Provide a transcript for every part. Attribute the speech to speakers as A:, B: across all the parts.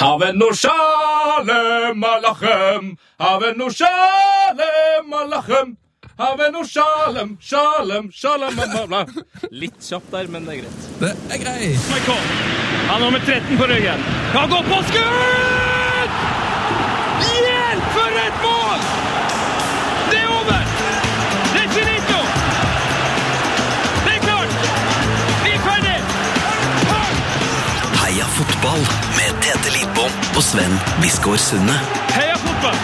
A: Havenu shalem alachem. Havenu shalem alachem. Havenu shalem, shalem, shalem bla, bla. Litt kjapt der, men det er greit.
B: Det er greit.
C: Michael. Han har nummer 13 på ryggen. Han går på skudd! Hjelp for et mål! Det er over! Det er finito! Det er klart! Vi er ferdig!
D: Heia fotball med Tete Lidbom og Sven Biskår Sunne.
C: Heia fotball!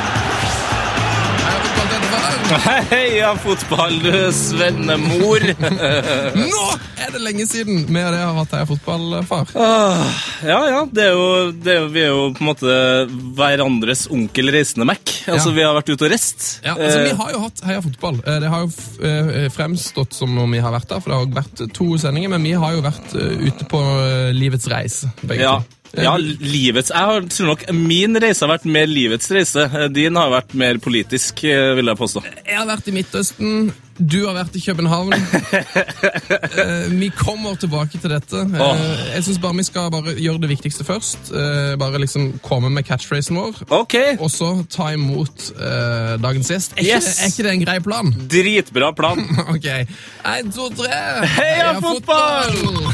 A: Heia fotball, du svennemor.
B: Nå er det lenge siden vi og det har vært heia eh, fotballfar.
A: Ja, ja, det er jo, det er, jo- vi er jo på en måte hverandres onkel reisende Mac. Altså,
B: Ja.
A: Vi har vært ute og reist.
B: Ja, altså
A: Eh,
B: Vi har jo hatt Heia fotball. Eh, Det har jo f- eh, fremstått som om vi har vært der, for det har vært to sendinger, men vi har jo vært eh, ute på eh, livets reis, begge
A: Ja.
B: to. Eh,
A: ja, livets Jeg har- tror nok min reise har vært mer livets reise. Eh, Din har vært mer politisk, eh, vil jeg påstå.
B: Jeg har vært i Midtøsten, du har vært i København. Eh, vi kommer tilbake til dette. Eh,
A: Åh.
B: Jeg syns bare vi skal bare gjøre det viktigste først. Eh, bare liksom komme med catchphrasen vår.
A: Ok,
B: Og så ta imot eh, dagens gjest. Er,
A: Yes.
B: ikke, det- er ikke det en grei plan?
A: dritbra plan.
B: ok. Én, to, tre.
A: Heia fotball!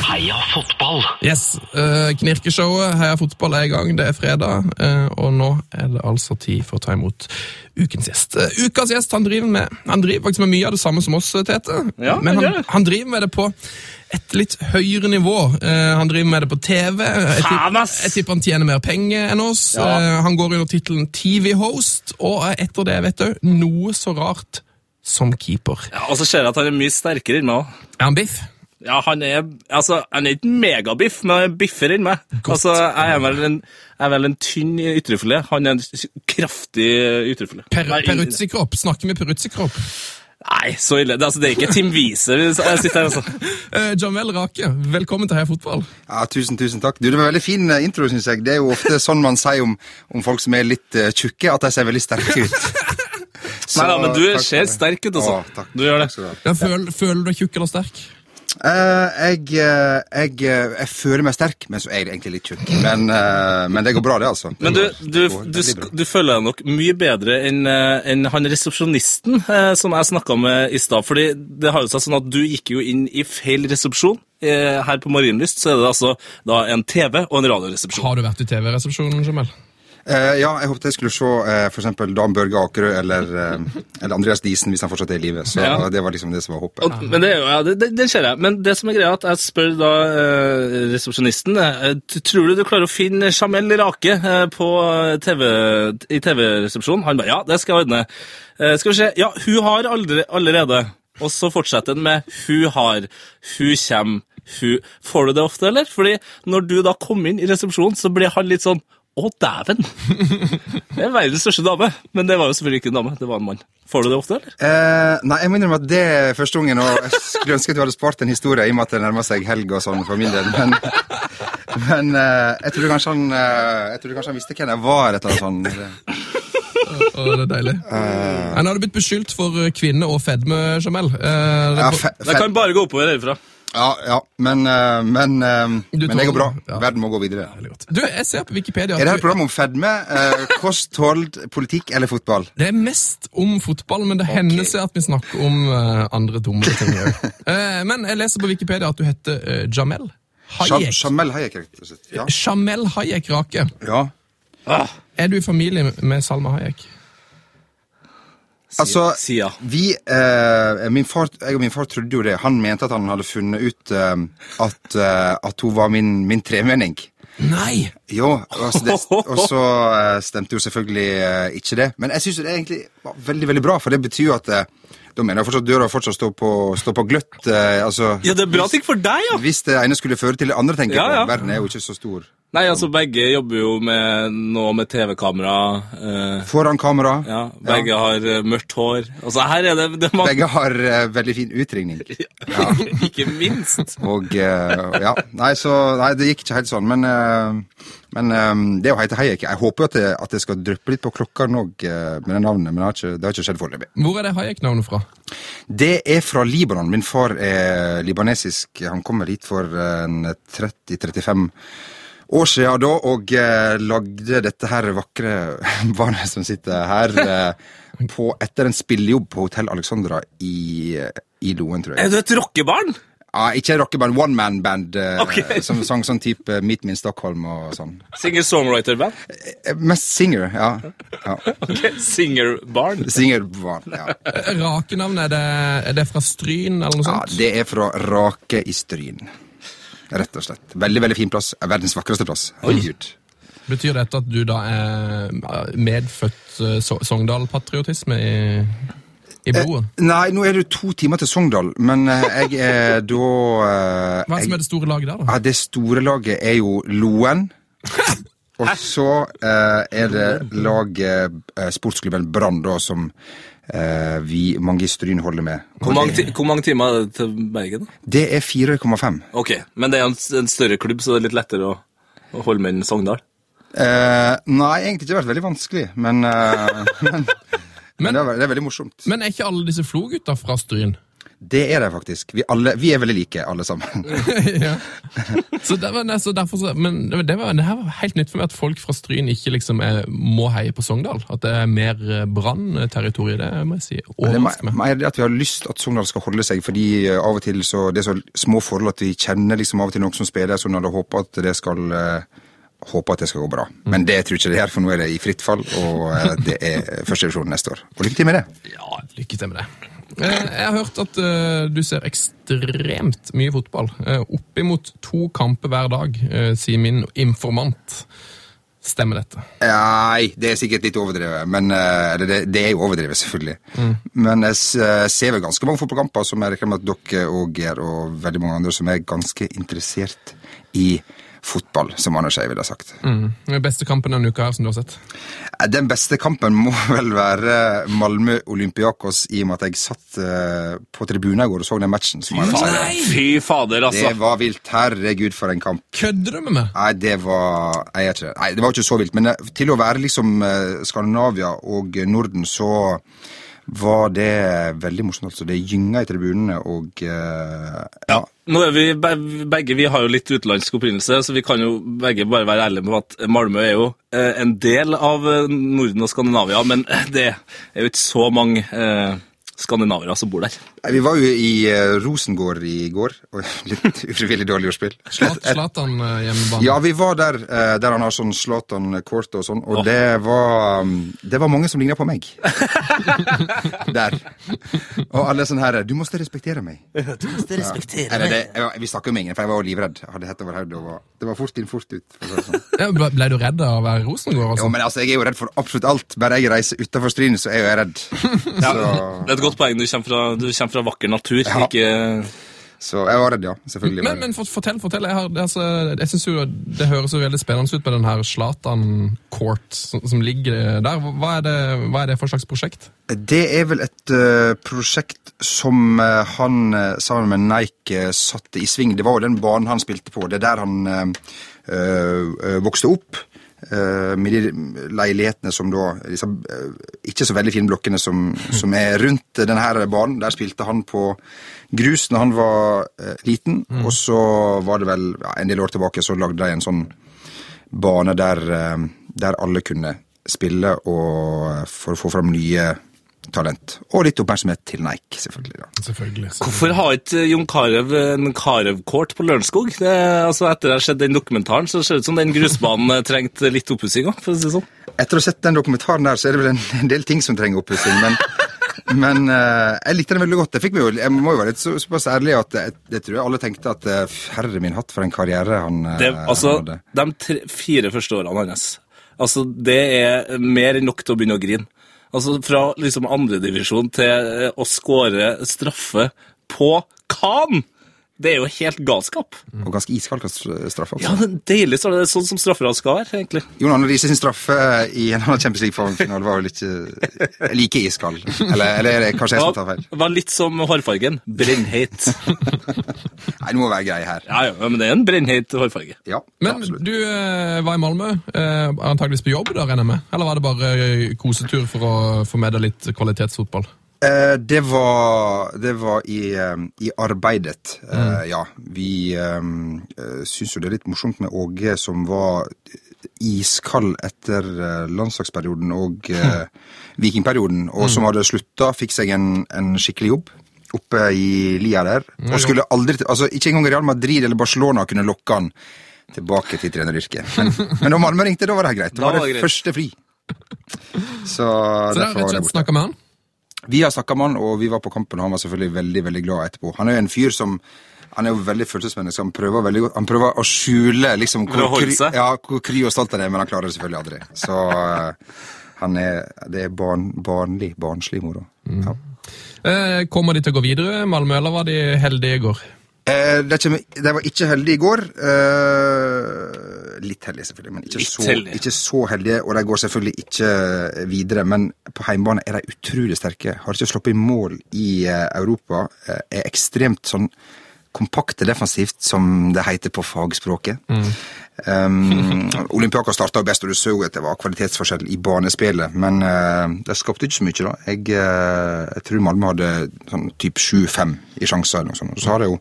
D: Heia fotball!
B: Yes. eh, knirkeshowet Heia fotball er i gang. Det er fredag, eh, og nå er det altså tid for å ta imot ukens gjest. Eh, ukas gjest han driver med Han driver faktisk med mye av det samme som oss, eh, Tete.
A: Ja,
B: Men
A: han gjør
B: han,
A: det.
B: han driver med det på et litt høyere nivå. Eh, han driver med det på TV. Jeg,
A: Faen, ass!
B: jeg tipper han tjener mer penger enn oss.
A: Ja.
B: Eh, han går under tittelen TV-host, og eh, etter det vet du, noe så rart som keeper.
A: Ja, og så ser jeg at han er mye sterkere enn meg òg.
B: Er han biff?
A: Ja, han er, altså, han er ikke megabiff, men han er biffer enn meg. Altså, jeg er vel en, jeg er vel en tynn ytrefilet. Han er en s- kraftig ytrefilet.
B: Per,
A: Nei,
B: Peruzzi-kropp? Snakker vi Peruzzi-kropp?
A: Nei, så ille. Det, altså, det er ikke Tim Wiese vi s- jeg sitter her, altså.
B: Eh, Jamel Rake, velkommen til Heia fotball.
E: Ja, Tusen tusen takk. Du, Det var veldig fin eh, intro, syns jeg. Det er jo ofte sånn man sier om, om folk som er litt eh, tjukke, at de ser veldig sterke ut. Så,
A: Nei, da, men du
E: takk for
A: ser
E: det.
A: sterk ut, altså.
E: Å, takk.
A: Du gjør det.
E: Takk skal du ha.
B: Ja, føl, Føler du deg tjukk eller sterk?
E: Eh, jeg, eh, jeg, eh, jeg føler meg sterk, men så er jeg egentlig litt tjukk. Men, eh, men det går bra, det, altså. Det
A: Men du,
E: går-
A: du,
E: det går
A: du,
E: veldig bra.
A: sk- du føler deg nok mye bedre enn eh, enn han resepsjonisten eh, som jeg snakka med i stad. fordi det har jo seg sånn at du gikk jo inn i feil resepsjon. Eh, Her på Marienlyst så er det altså da en TV og en radioresepsjon.
B: Har du vært i TV-resepsjonen, Jamel?
E: Eh, ja, jeg håpet jeg skulle se eh, for eksempel Dan Børge Akerø eller, eh, eller Andreas Diesen hvis han fortsatt er i live. Så
A: Ja.
E: det var liksom det som var håpet.
A: Og, men det, er jo- ja, det, det, det ser jeg. Men det som er greia, er at jeg spør da eh, resepsjonisten eh, t- Tror du du klarer å finne Jamel Rake eh, på eh, TV, i TV-resepsjonen? Han bare ja, det skal jeg ordne. Eh, skal vi se. Ja, hun har aldri, allerede. Og så fortsetter den med hun har, hun kommer, hun Får du det ofte, eller? Fordi når du da kommer inn i resepsjonen, så blir han litt sånn å, dæven! Det er verdens største dame. Men det var jo selvfølgelig ikke en dame, det var en mann. Får du det ofte, eller?
E: Eh, nei, jeg må innrømme at det er første gangen, og jeg skulle ønske at du hadde spart en historie i og med at det nærmer seg helg og sånn for min del, men, men eh, jeg trodde kanskje han eh, Jeg trodde kanskje han visste hvem jeg var, et eller annet sånt.
B: Å, det er deilig.
E: Eh.
B: Nei, nå har du blitt beskyldt for eh, kvinne og fedme, Jamel. Eh,
E: Ja,
B: det-
E: fe,
A: Det
E: fe,
A: kan bare gå oppover herfra.
E: ja, ja men, eh, men, eh,
B: Du
E: men det går bra.
B: tåler- ja.
E: Verden må gå videre.
B: Du, jeg ser på Wikipedia
E: Er det
B: at
E: her et
B: du,
E: program om fedme, eh, kosthold, politikk eller fotball?
B: det er mest om fotball, men det hender seg at vi snakker om eh, andre dumme ting òg. men jeg leser på Wikipedia at du heter eh, Jamel
E: Sham,
B: Hayek.
E: Shamel Hayek, rett og slett. Ja.
B: Jamel Hayek Rake.
E: ja.
A: Ah.
B: Er du i familie med Salma Hayek?
E: Altså,
A: Sia.
E: Vi, eh, min far, jeg og min far trodde jo det. Han mente at han hadde funnet ut eh, at, eh, at hun var min, min tremenning.
B: Nei!
E: Jo, og så, det, og så eh, stemte jo selvfølgelig eh, ikke det. Men jeg syns det egentlig var veldig veldig bra, for det betyr jo at eh, da mener jeg fortsatt døra fortsatt står på, står på gløtt. eh, altså,
A: Ja, det er bra ting for deg, ja.
E: Hvis det ene skulle føre til det andre, tenker jeg
A: Ja, ja.
E: på. Verden er jo ikke så stor.
A: Nei, altså begge jobber jo med noe med TV-kamera. eh,
E: Foran kamera.
A: ja, begge har eh, mørkt hår. Altså, her er det, det er mange,
E: Begge har eh, veldig fin utringning.
A: ikke minst.
E: Og eh, ja, nei, så nei, det gikk ikke helt sånn, men, eh, men eh, det å hete Hayek Jeg håper jo at det, at det skal dryppe litt på klokka nok eh, med det navnet, men det har ikke, det har ikke skjedd foreløpig.
B: Hvor er det Hayek-navnet fra?
E: Det er fra Libanon. Min far er libanesisk. Han kommer hit for eh, en 30-35 år siden da og eh, lagde dette her vakre barnet som sitter her, eh, på, etter en spillejobb på Hotell Alexandra i, eh, i Loen, tror jeg.
A: Er du et rockebarn?
E: Ja, ikke rockeband, one man band, eh,
A: Ok.
E: som sang sånn type Meet Me in Stockholm og sånn.
A: Singer-songwriter-band?
E: Eh, Mest singer, ja. ja.
A: Ok, Singer-barn?
E: Singer var ja.
B: Eh, Rakenavnet, er det, er det fra Stryn eller noe
E: ja.
B: sånt?
E: Det er fra Rake i Stryn. Rett og slett. Veldig, veldig fin plass. Verdens vakreste plass. Herregud.
B: Betyr dette at du da er medfødt eh, so Sogndal-patriotisme i,
E: Eh,
B: i blodet?
E: Nei, nå er det jo to timer til Sogndal, men eh, jeg er da eh,
B: Hva er det
E: jeg- Altså-
B: som er det store laget der, da?
E: Ja, det store laget er jo Loen. Og så eh, er det laget eh, sportsklubben Brann, da, som eh, vi mange i Stryn holder med.
A: Hvor
E: Og
A: mange,
E: det,
A: ti hvor mange timer er det til Bergen? da?
E: det er 4,5.
A: Ok, Men det er en, s- en større klubb, så det er litt lettere å, å holde med enn Sogndal.
E: Eh, nei, egentlig ikke vært veldig vanskelig, men, eh, men,
B: Men-
E: det, er, ve- det er veldig morsomt.
B: Men er ikke alle disse flogutta fra Stryn?
E: Det er det faktisk. Vi, alle, vi er veldig like, alle sammen.
B: ja. så det var, nei, så derfor, så- men det, var- det, var, det her var helt nytt for meg at folk fra Stryn ikke liksom er, må heie på Sogndal. At det er mer eh, brannterritorium, det må jeg si.
E: Men Det
B: Overrasker
E: er me-
B: meg.
E: mer det at vi har lyst at Sogndal skal holde seg, fordi eh, av og til så, det er så små forhold at vi kjenner liksom av og til noen som spiller i Sogndal og håper at det skal eh, håper at det skal gå bra. Men det tror jeg ikke det gjør, for nå er det i fritt fall, og eh, det er første divisjon neste år. Og lykke til med det.
B: Ja, lykke til med det. Eh, Jeg har hørt at eh, du ser ekstremt mye fotball. Eh, Oppimot to kamper hver dag, eh, sier min informant. Stemmer dette?
E: Nei, det er sikkert litt overdrevet, men eh, eller det, det er jo overdrevet, selvfølgelig. Men jeg s- eh, ser vel ganske mange fotballkamper som jeg regner med at dere og Geir og veldig mange andre som er ganske interessert i fotball, som Anders Eie ville ha sagt.
B: Den Beste kampen denne uka her som du har sett?
E: Eh, Den beste kampen må vel være Malmö Olympiakos, i og med at jeg satt eh, på tribunen i går og så den matchen. Som var der.
A: Fy fader, altså!
E: det var vilt. Herregud, for en kamp.
B: Kødder du med meg?
E: Nei, det var Nei, jeg er ikke det. Nei, det var ikke så vilt. Men eh, til å være liksom eh, Skandinavia og Norden, så var det veldig morsomt. altså. Det gynga i tribunene, og eh, ja.
A: Nå er vi be- begge, vi har jo litt utenlandsk opprinnelse, så vi kan jo begge bare være ærlige på at Malmö er jo eh, en del av eh, Norden og Skandinavia, men det er jo ikke så mange eh, skandinavere som bor der.
E: Nei, Vi var jo i eh, Rosengård i går. og Litt ufrivillig dårlig ordspill.
B: Zlatan eh, hjemmebane.
E: Ja, vi var der, eh, der han har sånn Zlatan Court og sånn, og det var um, Det var mange som ligna på meg. der. Og alle sånn her Du måtte respektere meg. Eller det, ja, vi snakka om ingen, for jeg var jo livredd. Jeg hadde hett over hodet og var Det var fort inn, fort ut. For å si det sånn.
B: Ja, ble, ble du redd av å være Rosengård?
E: Jo,
B: Altså?
E: men altså, jeg er jo redd for absolutt alt. Bare jeg reiser utafor Stryn, så er jo jeg redd. Så,
A: Det er et godt poeng, du kommer fra, du kommer fra vakker natur. ikke...
E: så jeg var redd, ja. Selvfølgelig.
B: Men, men for, fortell, fortell. Jeg, har, det er altså, jeg synes jo det høres jo veldig spennende ut med den her Zlatan Court som, som ligger der. Hva er, det, hva er det for slags prosjekt?
E: Det er vel et eh, prosjekt som eh, han eh, sammen med Nike eh, satte i sving. Det var jo den banen han spilte på. Det er der han eh, eh, eh, vokste opp. eh, med de leilighetene som da liksom, eh, Ikke så veldig fine blokkene som, som er rundt denne her banen. Der spilte han på grus når han var eh, liten, og så var det vel ja, en del år tilbake så lagde de en sånn bane der, eh, der alle kunne spille og eh, for å få fram nye talent. Og litt oppmerksomhet til Nike, selvfølgelig. da.
B: Selvfølgelig.
A: Hvorfor har ikke Jon Carew en Carew-court på Lørenskog? Det, altså, etter å ha sett den dokumentaren, så ser det ut som den grusbanen trengte litt oppussing òg, for å si det sånn.
E: Etter å ha sett den dokumentaren der, så er det vel en, en del ting som trenger oppussing, men, men eh, jeg likte den veldig godt. Jeg, fikk meg jo, jeg må jo være litt så, såpass ærlig at jeg, jeg tror jeg alle tenkte at eh, herre min hatt for en karriere han, eh,
A: Det, altså,
E: han hadde.
A: de tre, fire første årene hans, altså, det er mer enn nok til å begynne å grine. Altså, fra liksom andredivisjon til eh, å skåre straffe på Khan! Det er jo helt galskap.
E: Og ganske iskald straff også.
A: Ja, det er deilig så det er sånn som strafferad skal være, egentlig.
E: Jon Arne Riise sin straffe eh, i en annen Champions League-finale var vel ikke eh, like iskald. Eller, eller er det kanskje jeg som tar feil.
A: Det var litt som hårfargen. Brennheit.
E: Nei, nå må jeg være grei her.
A: Ja, ja, men det er en brennheit hårfarge.
E: Ja,
B: Men
E: absolutt.
B: du eh, var i Malmö, eh, antageligvis på jobb, da, regner jeg med? Eller var det bare eh, kosetur for å få med deg litt kvalitetsfotball?
E: Eh, det var, det var i, eh, i arbeidet, eh,
B: Mm.
E: ja. Vi eh, syns jo det er litt morsomt med Åge som var iskald etter eh, landslagsperioden og eh, vikingperioden,
B: Mm.
E: og som hadde slutta, fikk seg en, en skikkelig jobb. Oppe i lia der. Og skulle aldri til, altså Ikke engang Real Madrid eller Barcelona kunne lokke han tilbake til treneryrket. Men, men da Malmö ringte, da var det greit. Da var
A: var
E: det
A: det greit.
E: første fri. Så,
B: Så det er rett og
E: derfor var det
B: slett
E: borte.
B: snakket med han.
E: Vi har snakka med han, og vi var på kampen, og han var selvfølgelig veldig veldig glad etterpå. Han er jo en fyr som han er jo veldig følelsesmenneske. Han prøver veldig godt, han prøver å skjule liksom,
A: Prøver å holde
E: kry,
A: seg.
E: ja, hvor kry og stolt han er, men han klarer det selvfølgelig aldri. Så eh, han er, det er barn, barnlig, barnslig moro. Ja.
B: Eh, kommer de til å gå videre, Malmö, eller var de heldige i går?
E: Eh, det, kommer, det var ikke heldig i går. Eh, litt heldig, selvfølgelig, men ikke
A: Litt
E: så,
A: heldig.
E: ikke så heldige. Og de går selvfølgelig ikke eh, videre, men på hjemmebane er de utrolig sterke. Har ikke sluppet i mål i eh, Europa. Eh, er ekstremt sånn kompakte defensivt, som det heter på fagspråket. Um, Olympiakos starta best, og du så jo at det var kvalitetsforskjell i banespillet. Men eh, det skapte ikke så mye, da. Jeg, eh, jeg tror Malmö hadde sånn typ 7-5 i sjanser. eller noe sånt. Og så har det jo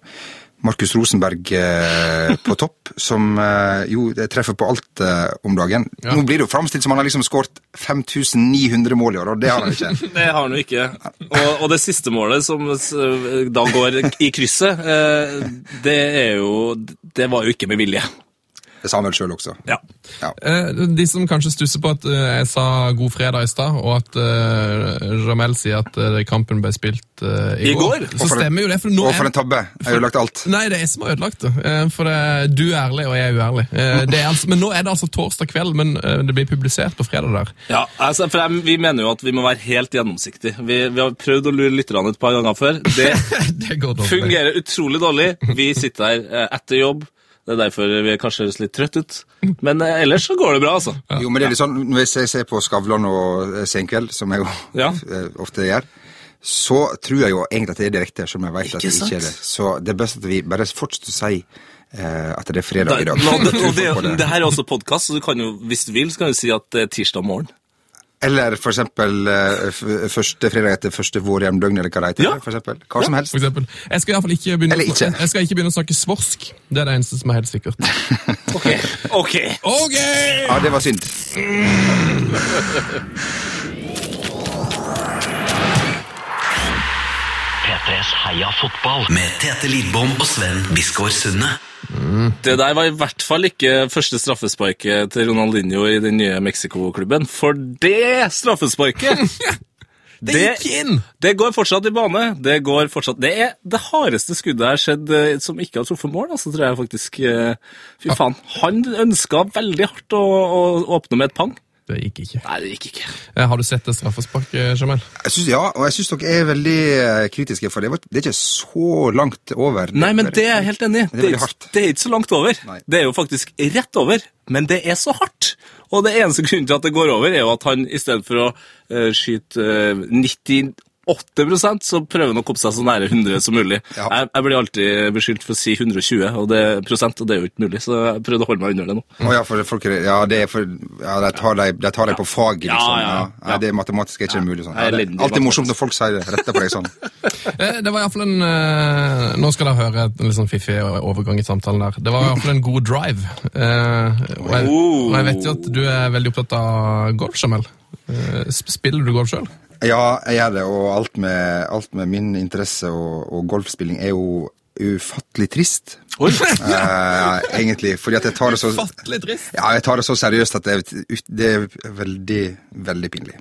E: Markus Rosenberg eh, på topp, som eh, jo det treffer på alt eh, om dagen. Nå blir det jo framstilt som han har liksom skåret 5900 mål i år, og det har han ikke.
A: Det har han jo ikke. Og, og det siste målet, som s- da går i krysset, eh, det er jo Det var jo ikke med vilje.
E: Det sa han vel sjøl også.
A: Ja.
E: Ja.
B: Eh, de som kanskje stusser på at eh, jeg sa god fredag i stad, og at eh, Jamel sier at eh, kampen ble spilt eh,
A: I
B: i,
A: går?
B: går, så
E: for en-
B: stemmer jo det. for nå
E: Og
B: er
E: for en tabbe! Jeg har jo lagt alt.
B: Nei, det er jeg som har ødelagt det. Eh, For det, du er ærlig, og jeg er uærlig. Eh, Det er altså, men nå er det altså torsdag kveld, men eh, det blir publisert på fredag der.
A: ja altså, for jeg, vi mener jo at vi må være helt gjennomsiktige. Vi, vi har prøvd å lure lytterne et par ganger før. Det
B: Det går dårlig.
A: fungerer utrolig dårlig. Vi sitter her eh, etter jobb. Det er derfor vi kanskje høres litt trøtt ut. Men eh, ellers så går det bra, altså.
E: Jo, men det er litt sånn, Hvis jeg ser på Skavlan og eh, Senkveld, som jeg jo
A: Ja.
E: eh, ofte gjør, så tror jeg jo egentlig at det er direkte, selv om jeg vet at det ikke er det. Så det er best at vi bare fortsetter å si eh, at det er
A: Da,
E: fredag i dag.
A: nå, det, og det,
E: På det.
A: det her er også podkast, så du kan jo, hvis du vil, så kan du si at det er tirsdag morgen.
E: Eller for eksempel eh, f- første fredag etter første vårhjemdøgn, eller hva det heter.
A: Ja.
E: For eksempel. Hva som
B: For
E: helst.
B: eksempel. Jeg skal i hvert fall ikke begynne,
E: Eller
B: å
E: ikke.
B: snak- Jeg skal ikke begynne å snakke svorsk. Det er det eneste som er helt sikkert.
A: Ok, ok.
B: Ok!
E: Ja, det var synd.
D: P3s Heia fotball med Tete Lidbom og Sven Biskår Sunde.
A: Det der var i hvert fall ikke første straffesparket til Ronaldinho i den nye Mexico-klubben. For det straffesparket! det,
B: gikk inn!
A: det går fortsatt i bane. Det går fortsatt... Det er det hardeste skuddet jeg har sett eh, som ikke har truffet mål, altså, tror jeg faktisk. eh, Fy faen. Han ønska veldig hardt å, å åpne med et pang.
B: Det gikk ikke.
A: Nei, det gikk ikke.
B: Eh, Har du sett det straffesparket, Jamel?
E: Jeg synes, ja, og jeg syns dere er veldig eh, kritiske, for det, var, det er ikke så langt over.
A: Nei, men det er jeg helt enig i.
E: Det er veldig
A: ikke-
E: hardt.
A: Det er ikke så langt over.
E: Nei.
A: Det er jo faktisk rett over, men det er så hardt. Og det eneste grunnen til at det går over, er jo at han i stedet for å eh, skyte eh, 98 så prøver han å komme seg så nære 100 som mulig.
E: Ja.
A: Jeg, jeg blir alltid beskyldt for å si 120 og det, prosent, og det er jo ikke mulig, så jeg prøvde å holde meg under det nå.
E: Å ja, for folk, er- ja, det er for, ja, de tar deg de tar deg på faget,
A: Ja,
E: liksom.
A: ja,
E: Ja,
A: ja.
E: Nei, det matematiske er ikke mulig
A: Jeg
E: sånn.
A: er
E: Ja, det
A: elendig
E: er
A: i
E: alltid morsomt når folk sier det. Retter på deg sånn.
B: Eh, Det var i hvert fall en eh, Nå skal dere høre en litt sånn fiffig overgang i samtalen der. Det var i hvert fall en god drive. Eh, og, jeg, og jeg vet jo at du er veldig opptatt av golf, Jamel. Eh, sp- Spiller du golf sjøl?
E: Ja, jeg gjør det, og alt med, alt med min interesse og, og golfspilling er jo ufattelig trist. Eh, egentlig, fordi at jeg tar det så
B: Fattelig trist.
E: Ja, jeg tar det så seriøst at det, er ut- det er veldig, veldig pinlig.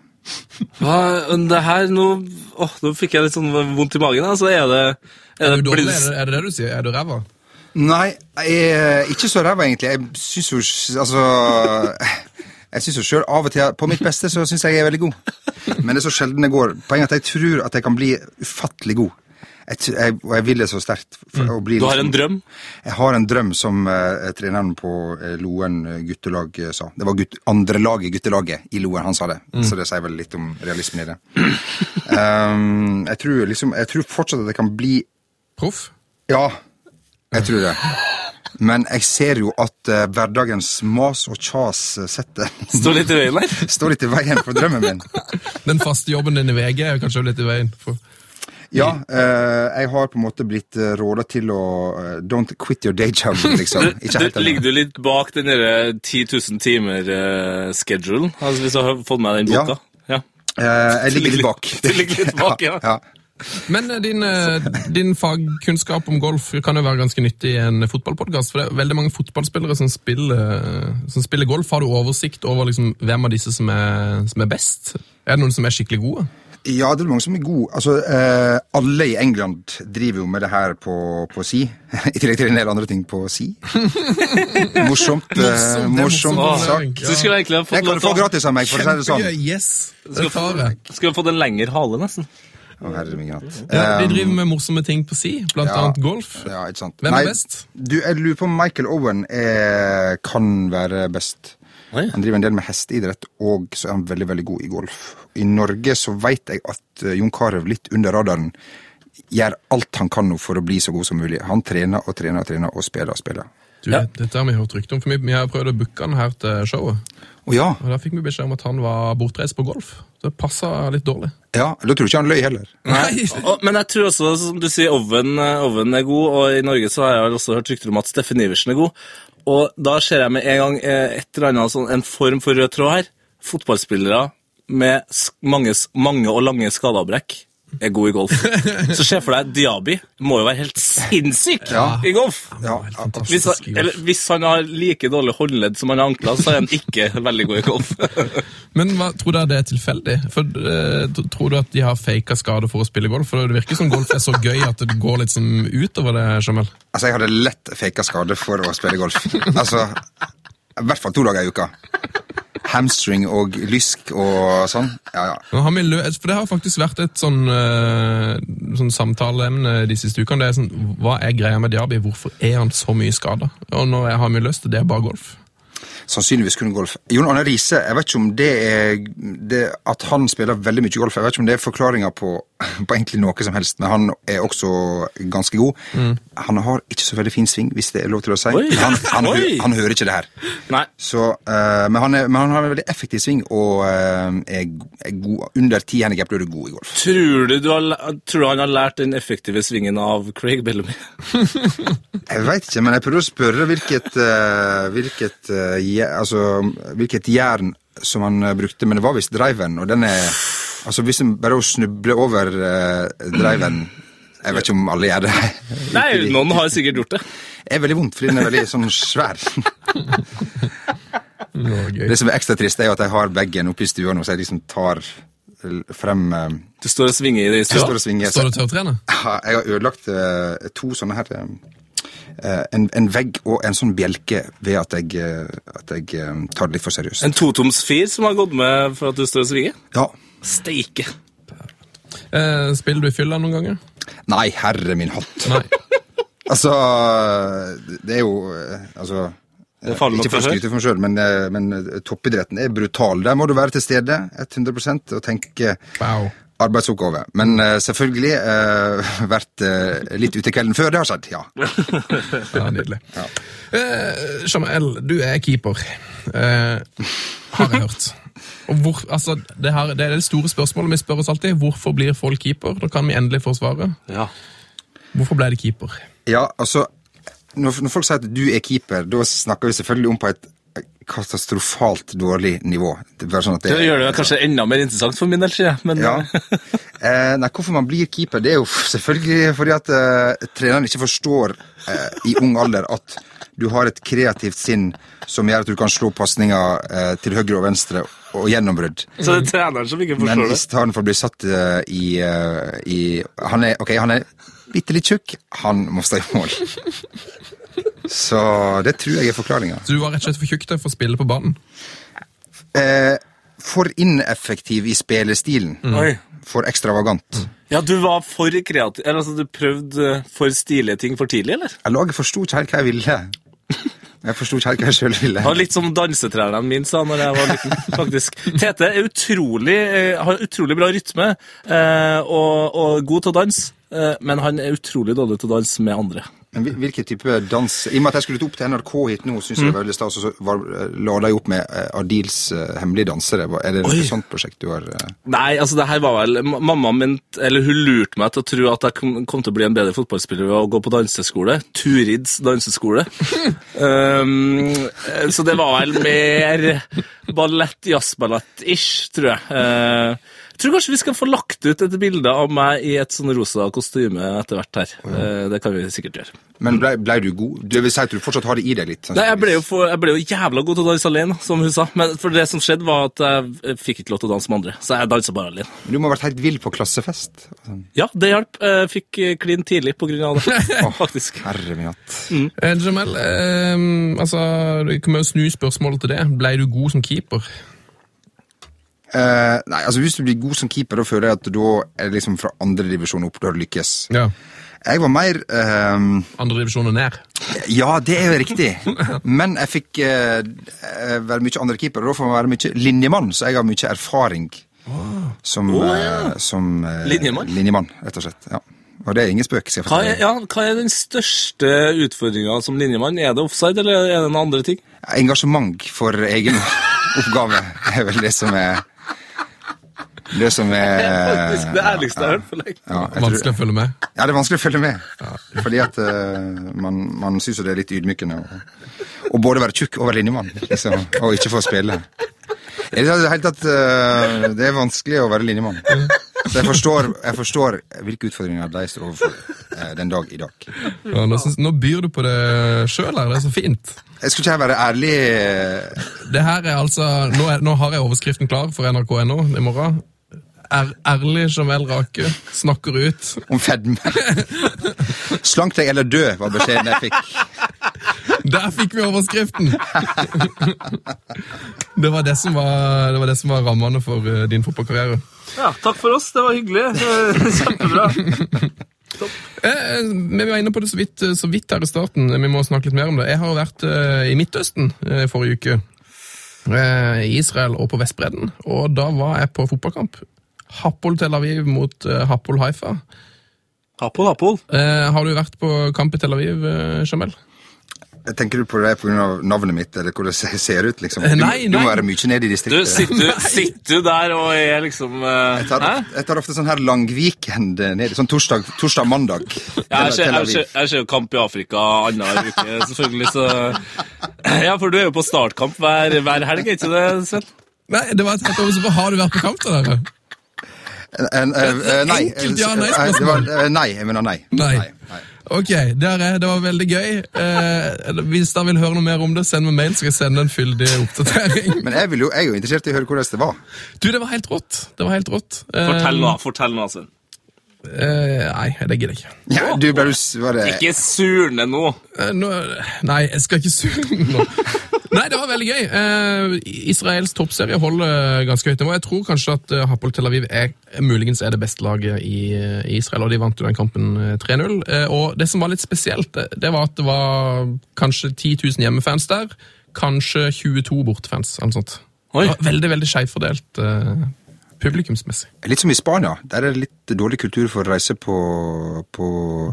A: Hva, det her, nå, åh, nå fikk jeg litt sånn vondt i magen. Altså, er det, er
B: Er
A: det,
B: du
A: blir
B: dårlig?
A: det
B: Er det, er det det du sier? Er du ræva?
E: Nei, jeg er ikke så ræva, egentlig. Jeg syns jo s- Altså Jeg syns jo sjøl av og til På mitt beste så syns jeg jeg er veldig god. Men det er så sjelden det går. Poenget er at jeg tror at jeg kan bli ufattelig god. jeg, t- jeg, og jeg vil det så sterkt. for å bli
A: Du har
E: liksom-
A: en drøm?
E: Jeg har en drøm som eh, treneren på eh, Loen eh, guttelag eh, sa. Det var gutt, andre lag i guttelaget i Loen, han sa det.
A: Mm.
E: Så det sier vel litt om realismen i det. um, jeg, tror, liksom, jeg tror fortsatt at det kan bli
B: Proff?
E: Ja, jeg tror det. Men jeg ser jo at eh, hverdagens mas og kjas eh, setter
A: Står litt i veien der?
E: Står litt i veien for drømmen min.
B: Den faste jobben din i VG er jo kanskje litt i veien. For,
E: Ja, eh, jeg har på en måte blitt uh, råda til å eh, Don't quit your day job, liksom. Ikke helt
A: Du,
E: ennå.
A: ligger du litt bak den eh, derre 10 000 timer-schedulen? altså hvis du har fått med deg den
E: Ja.
A: boka? Ja.
E: Eh, jeg ligger litt bak.
A: Du ligger litt bak, ja.
E: ja.
B: men eh, din, eh, din fagkunnskap om golf kan jo være ganske nyttig i en fotballpodkast. For det er veldig mange fotballspillere som spiller, eh, som spiller golf. Har du oversikt over liksom, hvem av disse som er, som er best? Er det noen som er skikkelig gode?
E: Ja, det er mange som er gode. Altså, eh, alle i England driver jo med det her på, på si. I tillegg til en del andre ting på si. morsomt.
B: Morsomt, det
E: Eh,
B: er
E: morsomt
B: morsomt.
E: sak.
A: Ah. Så skulle jeg egentlig ha
E: Det
A: fått,
E: kan du
A: lov til
E: få
A: å-
E: gratis av meg, for å si det sånn.
B: Kjempegøy, yes! Det
A: Skulle
B: tar jeg.
A: fått- skulle fått en lengre hale, nesten.
E: Å, herre min hatt.
B: Ja, de
E: Eh,
B: driver med morsomme ting på si, blant
E: ja.
B: annet golf.
E: ja, ikke sant.
B: Hvem er
E: Nei,
B: best?
E: Du, jeg lurer på om Michael Owen er, kan være best.
A: Oi.
E: Han driver en del med hesteidrett, og så er han veldig veldig god i golf. I Norge så veit jeg at eh, Jon Carew, litt under radaren, gjør alt han kan nå for å bli så god som mulig. Han trener og trener og trener og spiller og spiller.
B: Du, Dette har vi hørt rykte om, for vi, vi har prøvd å booke han her til showet.
E: Å ja!
B: Og Da fikk vi beskjed om at han var bortreist på golf. Det passa litt dårlig.
E: ja! Da tror jeg ikke han løy heller.
B: Nei!
A: Og, men jeg tror også, som du sier, Oven, eh, Oven er god, og i Norge så har jeg også hørt rykter om at Steffen Iversen er god. Og da ser jeg med en gang eh, et eller annet sånn, en form for rød tråd her. Fotballspillere med sk- mange, s- mange og lange skadeavbrekk er gode i golf. Så se for deg, Diaby må jo være helt sinnssyk
E: Ja.
A: i golf.
E: Ja,
B: Helt
E: ja,
A: Hvis han,
B: fantastisk i golf.
A: eller, hvis han har like dårlig håndledd som han har ankler, så er han ikke veldig god i golf.
B: Men hva, tror dere det er tilfeldig? For, eh, t- tror du at de har faka skade for å spille golf? For det virker som golf er så gøy at det går litt som utover det, Jamel.
E: Altså, jeg hadde lett faka skade for å spille golf. Altså, I hvert fall to dager i uka. Hamstring og lysk og sånn. Ja, ja.
B: Nå har vi lø for det har faktisk vært et sånn, eh, sånn samtaleemne de siste ukene. Det er sånn, Hva er greia med Diaby? Hvorfor er han så mye skada? Og nå har vi løst det. Det er bare golf.
E: Sannsynligvis kun golf. Jon Arne Riise, jeg vet ikke om det er det, At han spiller veldig mye golf, jeg vet ikke om det er forklaringa på, på egentlig noe som helst, men han er også ganske god. Han har ikke så veldig fin sving, hvis det er lov til å si.
A: Mm. Oi.
E: Han, han, hø-
A: Oi.
E: han hører ikke det her.
A: Nei.
E: Så, eh, men, han er, men han har en veldig effektiv sving, og eh, er, er god. Under ti handikap blir du god i golf.
A: Tror du, du har, læ- tror du han har lært den effektive svingen av Craig Bellamy?
E: Jeg veit ikke, men jeg prøvde å spørre hvilket, eh, hvilket, eh, je, altså, hvilket jern som han eh, brukte, men det var visst driveren, og den er Altså, hvis en bare å snuble over uh, driveren Jeg vet ikke om alle gjør det.
A: Nei, noen har sikkert gjort det.
E: Det er veldig vondt, fordi den er veldig sånn svær.
B: Norge.
E: Det som er ekstra trist, er jo at jeg har bagen oppe i stua nå, så jeg liksom tar eh, frem eh,
A: Du står og svinger i det i
E: Jeg
A: stua.
E: står og svinger. så-
B: Står du til å trene?
E: Ja, Jeg har ødelagt eh, to sånne her eh, en, en vegg og en sånn bjelke ved at jeg, eh, at jeg eh, tar det litt for seriøst.
A: En totoms fir som har gått med for at du står og svinger?
E: Ja.
A: Steike!
B: Eh, spiller du i fylla noen ganger?
E: Nei, herre min hatt.
B: Nei.
E: Altså, det er jo eh, Altså
A: Det faller nok
E: ikke for å
A: for høyt.
E: skryte for meg sjøl, men, eh, men eh, toppidretten er brutal. Der må du være til stede 100 og tenke
B: Wow.
E: arbeidsoppgave. Men eh, selvfølgelig eh, vært eh, litt ute kvelden før det har skjedd, ja.
B: Ja, nydelig. Eh, Jamal, du er keeper, eh, har jeg hørt. Og hvor, altså, det, her, det er det store spørsmålet vi spør oss alltid. Hvorfor blir folk keeper? Da kan vi endelig få svaret.
A: Ja.
B: Hvorfor ble de keeper?
E: Ja, altså når, når folk sier at du er keeper, da snakker vi selvfølgelig om på et katastrofalt dårlig nivå. Det er bare sånn at
A: Det
E: det,
A: gjør det kanskje enda mer interessant for min del, sier jeg. Men
E: ja. eh, nei, hvorfor man blir keeper, det er jo selvfølgelig fordi at eh, treneren ikke forstår eh, i ung alder at du har et kreativt sinn som gjør at du kan slå pasninger eh, til høyre og venstre og gjennombrudd.
A: Så det er treneren som ikke
E: Men
A: forstår
E: i
A: det.
E: stedet for å bli satt eh, i, eh, i Han er ok, han er bitte litt tjukk. Han må stå i mål. Så det tror jeg er forklaringa.
B: Så du var rett og slett for tjukk til for å spille på banen?
E: Eh, for ineffektiv i spillestilen.
A: Oi.
E: for ekstravagant.
A: Ja, du var for kreativ. Eller altså, du prøvde eh, for stilige ting for tidlig, eller?
E: Jeg laget forsto ikke helt hva jeg ville. Jeg forsto ikke helt hva jeg sjøl ville.
A: Det var litt som dansetrærne mine sa når jeg var liten, faktisk. Tete er utrolig, eh, har utrolig bra rytme eh, og, og god til å danse, eh, men han er utrolig dårlig til å danse med andre.
E: Men hvil- hvilken type dans I og med at jeg skulle opp til NRK hit nå, syns
A: Mm.
E: jeg det var veldig stas, og så var, lada jeg opp med eh, Adils eh, hemmelige dansere. Hva- Er det
A: Oi.
E: noe sånt prosjekt du har eh?
A: Nei, altså det her var vel ma- Mamma min, eller hun lurte meg til å tro at jeg kom, kom til å bli en bedre fotballspiller ved å gå på danseskole. Turids danseskole. um, eh, så det var vel mer ballett, jazzballett-ish, tror jeg. Eh, jeg tror kanskje vi skal få lagt ut et bilde av meg i et sånn rosa kostyme etter hvert her. Eh, det kan vi sikkert gjøre.
E: Men blei blei du god? Det vil si at du fortsatt har det i deg litt?
A: Nei, jeg ble, jo for, jeg ble jo jævla god til å danse alene, som hun sa. Men for det som skjedde, var at jeg eh, fikk ikke lov til å danse med andre, så jeg dansa bare alene.
E: Men Du må ha vært helt vill på klassefest. Sånn,
A: Ja, det hjalp. Eh, Fikk eh, klin tidlig på grunn av det, faktisk.
E: Herre min hatt.
B: Eh, Jamel, eh, altså, det kommer jo snu spørsmålet til det. Ble du god som keeper?
E: Eh, nei, altså Hvis du blir god som keeper, da føler jeg at da er det liksom fra andredivisjon opp du har lykkes.
B: Ja.
E: Jeg var mer eh,
B: Andre divisjon og ned?
E: Ja, det er jo riktig. Men jeg fikk eh, eh, være mye andre keeper, og da får man være mye linjemann, så jeg har mye erfaring som, eh, som eh,
A: Ah. Linjemann?
E: linjemann, rett og slett. Ja. Og det er ingen spøk. skal jeg
A: Hva er,
E: fortelle.
A: ja, hva er den største utfordringa som linjemann? Er det offside, eller er det noen andre ting?
E: Engasjement for egen oppgave er vel det som er Det som er
A: Eh, Faktisk det ærligste jeg har hørt for lenge.
E: Ja, jeg tror,
B: Vanskelig å følge med.
E: ja, det er vanskelig å følge med. Fordi at eh, man, man syns jo det er litt ydmykende å, å både være tjukk og være linjemann, liksom, og ikke få spille. Jeg synes det, er helt tatt, eh, det er vanskelig å være linjemann. Så jeg forstår, jeg forstår hvilke utfordringer de står overfor eh, den dag i dag.
B: Ja, nå, synes, nå byr du på det sjøl her, det er så fint.
E: Jeg skulle ikke jeg være ærlig eh,
B: Det her er altså, nå, er, nå har jeg overskriften klar for nrk.no i morgen. Er, ærlig Jamel Rake snakker ut.
E: om fedme. Slank deg eller dø, var beskjeden jeg fikk.
B: Der fikk vi overskriften! Det var det som var, det var, det som var rammene for eh, din fotballkarriere.
A: Ja, takk for oss, det var hyggelig. Kjempebra.
B: Eh, men vi var inne på det så vidt, eh, så vidt her i starten. Vi må snakke litt mer om det. Jeg har jo vært eh, i Midtøsten eh, forrige uke. Eh, I Israel og på Vestbredden. Og da var jeg på fotballkamp. Happol Tel Aviv mot eh, Happol Haifa.
A: Apol, Apol.
B: Eh, har du vært på kamp i Tel Aviv, eh, Jamel?
E: Tenker du på det pga. navnet mitt, eller hvordan jeg ser ut? liksom?
B: Eh,
E: Du, må-
B: nei,
E: du må
B: nei.
E: være mye nede i
A: Du,
E: distriktet.
A: sitter, sitter du der og er liksom eh,
E: Jeg tar,
A: Hæ?
E: ofte, jeg tar ofte sånn her langweekend eh, ned, sånn torsdag, torsdag mandag.
A: Ja, jeg, ser,
E: Tel
A: jeg,
E: Aviv.
A: ser, jeg ser jo kamp i Afrika annenhver uke, selvfølgelig, så Ja, for du er jo på startkamp hver, hver helg, er ikke det, Sven?
B: Nei, det var et helt over, så bare, Har du vært på kamp til dere?
E: En- en- eh, eh, Nei, eh,
B: Enkelt ja- nei-spørsmål.
E: eh, det var- eh, nei, jeg mener nei.
B: Nei. Ok, det, er, jeg. det var veldig gøy. Eh, hvis dere vil høre noe mer om det, send meg mail, så skal jeg sende en fyldig oppdatering.
E: Men jeg, vil jo, jeg er jo interessert i å høre hvordan det var.
B: Du, det var helt rått. Det var helt rått. Eh,
A: Fortell nå, fortell nå, Sven.
B: Eh, nei, det gidder jeg ikke.
E: Ja, du ble jo var det-
A: Ikke surne nå.
B: Eh, nå, nei, jeg skal ikke surne nå. Nei, det var veldig gøy. Eh, Israels toppserie holder ganske høyt nivå. Jeg tror kanskje at eh, Hapoel Tel Aviv er, muligens er det beste laget i, i Israel, og de vant jo den kampen eh, 3-0. Eh, og det som var litt spesielt, det, det var at det var kanskje 10 000 hjemmefans der, kanskje 22 bortefans, eller noe sånt.
A: Oi.
B: Det var veldig, veldig skjevfordelt eh, publikumsmessig.
E: Litt som i Spania. Der er det litt dårlig kultur for å reise på, på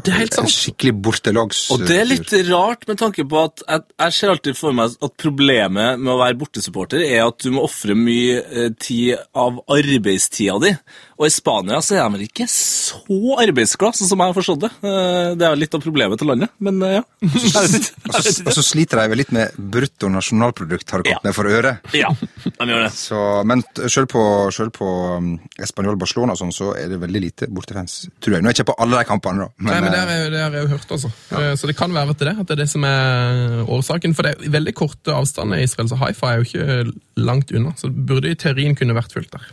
B: Det er helt sant.
E: en skikkelig bortelags...
A: Og det er litt rart med tanke på at jeg, jeg ser alltid for meg at problemet med å være bortesupporter er at du må ofre mye eh, tid av arbeidstida di. Og i Spania så er de vel ikke så arbeidsglad, sånn som jeg har forstått det. Eh, Det er jo litt av problemet til landet, men eh, ja. Jeg vet ikke.
E: Og så, og så sliter de vel litt med brutto nasjonalprodukt, har det
A: Ja.
E: kommet meg for øre.
A: Ja, de gjør det.
E: Så, men t- selv på, selv på um, Espanyol Barcelona og sånn, så er det veldig lite bortefans. Tror jeg. Nå er jeg ikke på alle de kampene, da.
B: Nei, men Det
E: eh,
B: har jeg, det har jeg jo hørt, altså. Eh, Så det kan være at det, er det, at det er det som er årsaken. For det er veldig korte avstander i Israel, så hifi er jo ikke eh, langt unna. Så det burde i teorien kunne vært fullt der.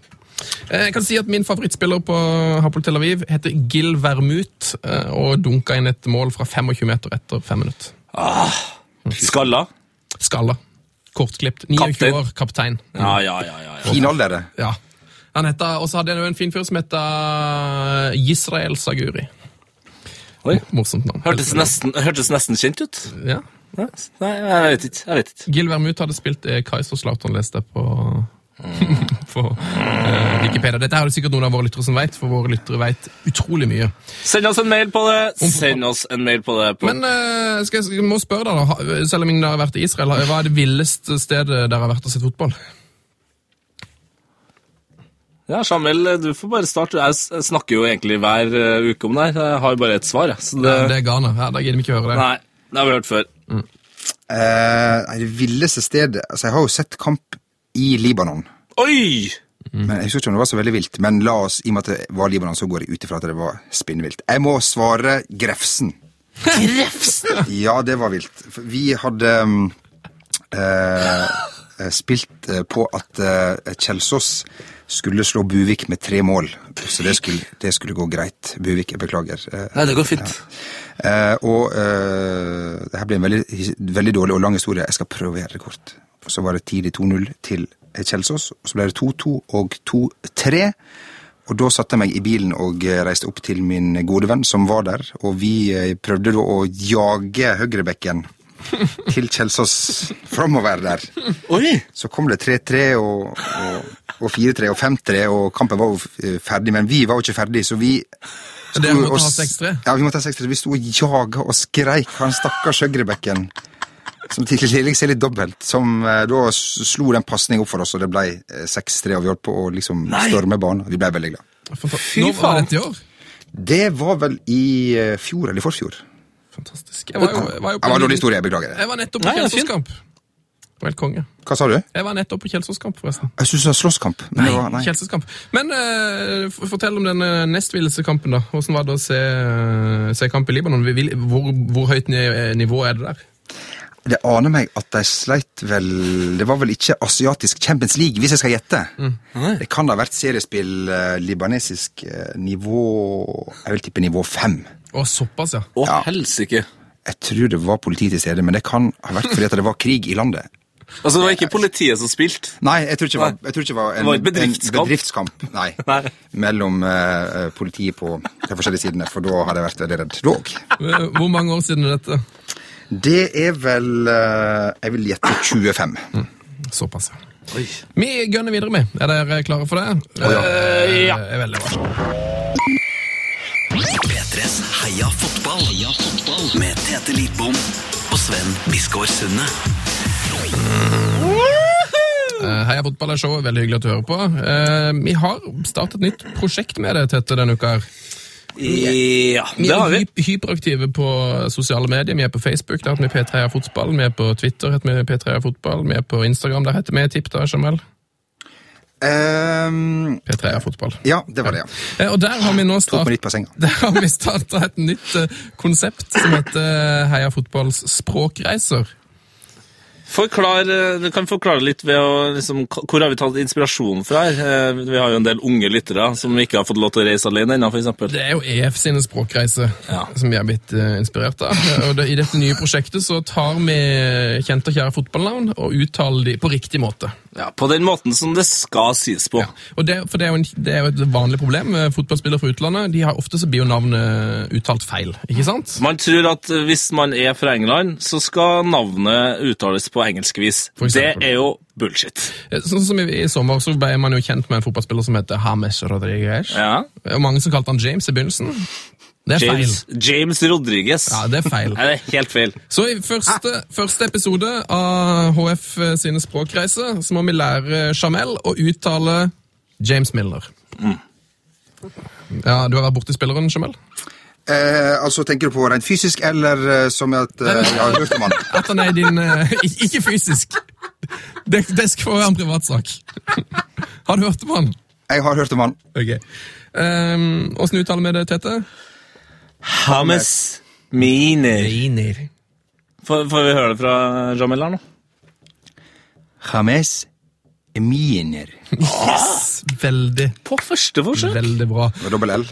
B: Eh, Jeg kan si at Min favorittspiller på Hapoel Tel Aviv heter Gil Vermut, eh, og dunka inn et mål fra 25 meter etter fem minutter.
A: Ah, Skalla.
B: Skalla. Kortklipt. 29
A: Kaptein.
B: år, kaptein.
A: Ja, ja, ja. ja, ja.
E: Fin alder, det.
B: Ja. Han heter, Og så hadde jeg jo en fin fyr som heter eh, Israel Saguri.
A: Oi.
B: Morsomt navn.
A: Hørtes nesten, hørtes nesten kjent ut.
B: Ja.
A: Nei, jeg vet ikke. Jeg vet ikke.
B: Gil Vermut hadde spilt eh, Kaiserslautern, leste jeg på, på eh, Wikipedia. Dette er det sikkert noen av våre lyttere som vet, for våre lyttere vet utrolig mye.
A: Send oss en mail på det. Send oss en mail på det. På.
B: Men eh, skal jeg, jeg må spørre deg, da, ha- selv om dere har vært i Israel, hva er det villeste stedet dere har vært og sett fotball?
A: Ja, Samuel, du får bare starte. Jeg s- jeg snakker jo egentlig hver eh, uke om det her. Jeg har jo bare ett svar, jeg. Så det,
B: Det er Ghana. Ja, da gidder vi ikke høre det.
A: Nei, det har vi hørt før.
E: Eh, nei, det villeste stedet Altså, jeg har jo sett kamp i Libanon.
A: Oi!
E: Men Jeg husker ikke om det var så veldig vilt, men la oss, i og med at det var Libanon, så går jeg ut ifra at det var spinnvilt. Jeg må svare Grefsen. Grefsen?! Ja, det var vilt. For Vi hadde um, eh, eh, spilt eh, på at eh, Kjelsås skulle slå Buvik med tre mål, så det skulle, det skulle gå greit. Buvik, jeg beklager. Eh,
A: Nei, det går fint.
E: Eh, og eh, det her ble en veldig, his- veldig dårlig og lang historie. Jeg skal prøve å gjøre det kort. Og Så var det tidlig 2-0 til Kjelsås. og Så ble det 2-2 og 2-3. Og da satte jeg meg i bilen og eh, reiste opp til min gode venn som var der. Og vi eh, prøvde da å jage høyrebekken til Kjelsås framover der.
A: Oi!
E: Så kom det 3-3 og, og, og 4-3 og 5-3, og kampen var jo f- ferdig. Men vi var jo ikke ferdig, så vi
B: Så dere
E: sto
B: måtte
E: og
B: ha
E: s-
B: 6-3?
E: Ja, vi måtte ha 6-3. Vi sto og jaga og skreik han stakkars høyrebekken. Som til tillegg ser litt dobbelt, som eh, da s- slo den pasning opp for oss, og det ble eh, 6-3, og vi holdt på å liksom storme banen. Vi ble veldig glad.
B: Fy Nå var
A: faen.
B: dette i år.
E: Det var vel i eh, fjor eller i forfjor.
B: Fantastisk. Jeg var jo, jeg var jo
E: Det var en dårlig historie, jeg beklager det.
B: Jeg var nettopp på
A: Nei, det er fint.
B: Kjelsåskamp. Det var helt konge.
E: Hva sa du?
B: Jeg var nettopp på Kjelsåskamp, forresten.
E: Jeg syns det var slåsskamp. men det var-
B: Nei, Kjelsåskamp. Men eh, f- fortell om den eh, nest villeste kampen, da. Hvordan var det å se, eh, se kamp i Libanon? Vi vil, hvor, hvor høyt ni- eh, nivå er det der?
E: Det aner meg at de sleit vel Det var vel ikke asiatisk Champions League, hvis jeg skal gjette.
A: Mm.
E: Det kan da ha vært seriespill eh, libanesisk eh, nivå Jeg vil tippe nivå fem.
B: Å, såpass, ja.
A: Å,
E: Ja.
A: helsike.
E: Jeg tror det var politi til stede, men det kan ha vært fordi at det var krig i landet.
A: Altså, det var ikke politiet som spilte.
E: Nei, jeg tror ikke det var, jeg tror ikke det var en,
A: Det var en bedriftskamp.
E: en bedriftskamp nei,
A: Nei.
E: mellom eh, eh, politiet på de forskjellige sidene, for da hadde jeg vært veldig redd. Dog.
B: Eh, Hvor mange år siden er dette?
E: Det er vel eh, Jeg vil gjette 25.
A: Mm.
B: Såpass, ja. Vi gønner videre med. Er dere klare for det? Eh, er veldig bra.
D: P3s Heia fotball. Heia fotball. Med Tete Lidbom og Sven Biskår Sunde.
B: Eh, Heia fotball er showet. Veldig hyggelig at du hører på. Eh, Vi har startet et nytt prosjekt med det, Tete, denne uka her.
A: Ja,
B: Vi
A: det
B: er
A: har vi.
B: hyp- hyperaktive på sosiale medier. Vi er på Facebook, der heter vi P3 er fotball. Vi er på Twitter, heter vi P3 er fotball. Vi er på Instagram, der heter vi Tipp da, Jamel.
E: Ehm,
B: P3 er fotball.
E: ja, det var det, ja.
B: Eh, Og der har vi nå
E: Tok meg
B: startet
E: litt på senga.
B: der har vi starta et nytt eh, konsept som heter eh, Heia fotballs språkreiser.
A: Forklar, eh, du kan forklare litt ved å liksom, k- Hvor har vi tatt inspirasjonen fra her? Eh, Vi har jo en del unge lyttere som ikke har fått lov til å reise alene ennå, f.eks.
B: Det er jo EF sine språkreiser
A: Ja.
B: som vi er blitt eh, inspirert av. Og det, I dette nye prosjektet så tar vi kjente og kjære fotballnavn og uttaler de på riktig måte.
A: Ja, på den måten som det skal sies på.
B: Og det, for det er, jo en, det er jo et vanlig problem. Eh, Fotballspillere fra utlandet de har ofte så blir jo navnet uttalt feil. ikke sant?
A: Man tror at eh, hvis man er fra England, så skal navnet uttales på engelsk vis.
B: For
A: Det
B: eksempel.
A: er jo bullshit.
B: Eh, Sånn som i, I sommer så ble man jo kjent med en fotballspiller som heter James Rodriguez.
A: Ja.
B: Og mange som kalte han James i begynnelsen. Det er feil.
A: James, James Rodriguez.
B: Ja, det er feil.
A: Nei, det er helt feil.
B: Så i første, første episode av HF sine språkreiser så må vi lære Jamel å uttale James Milner.
A: Mm.
B: Ja, Du har vært borti spilleren, Jamel?
E: Eh, altså, Tenker du på rent fysisk, eller eh, som at eh, jeg har hørt om han?
B: At han er i din eh, ik- Ikke fysisk. Det, det skal være en privatsak. Har du hørt om han?
E: Jeg har hørt om han.
B: Ok. Um, Åssen uttaler vi det, Tete?
A: Hames Miner.
B: Reiner.
A: Får, får vi høre det fra Jamel her nå?
E: James Miner.
B: Veldig,
A: På første forsøk.
B: veldig bra.
E: Med dobbel L.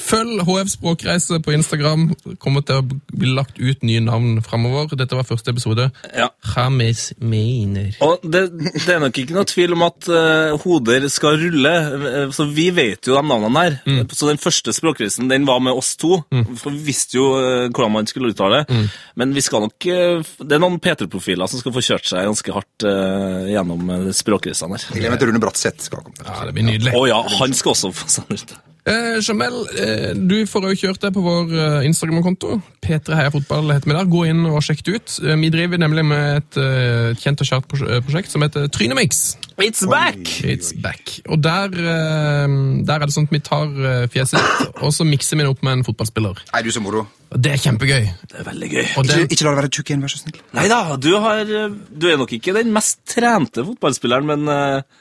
B: Følg HF Språkreise på Instagram. Kommer til å bli lagt ut nye navn framover. Dette var første episode.
A: Ja.
B: James Meiner.
A: Og det, det er nok ikke noe tvil om at eh, hoder skal rulle, eh, så vi vet jo de navnene her. Så den første språkreisen, den var med oss to, for vi visste jo eh, hvordan man skulle uttale det. Men vi skal nok, eh, f- det er noen P3-profiler som skal få kjørt seg ganske hardt eh, gjennom eh, språkreisene her.
E: Jeg glemmer at Rune Bratseth skal komme.
B: Ja, det blir nydelig.
A: Å ja, han skal også få seg ut.
B: Eh, Jamel, eh, du får jo kjørt deg på vår eh, Instagram-konto. P3 Heia Fotball heter vi der. Gå inn og sjekk det ut. Eh, vi driver nemlig med et eh, kjent og kjært pros- eh, prosjekt som heter Trynemix.
A: It's back!
B: It's back. Og der, eh, der er det sånn at vi tar eh, fjeset ditt, og så mikser vi det opp med en fotballspiller.
E: Er du så moro?
B: Og det er kjempegøy.
A: Det er veldig gøy.
B: Og
E: Ikke,
B: den,
E: ikke la det være tjukk igjen, vær så snill.
A: Nei da, du, har, eh, du er nok ikke den mest trente fotballspilleren, men eh,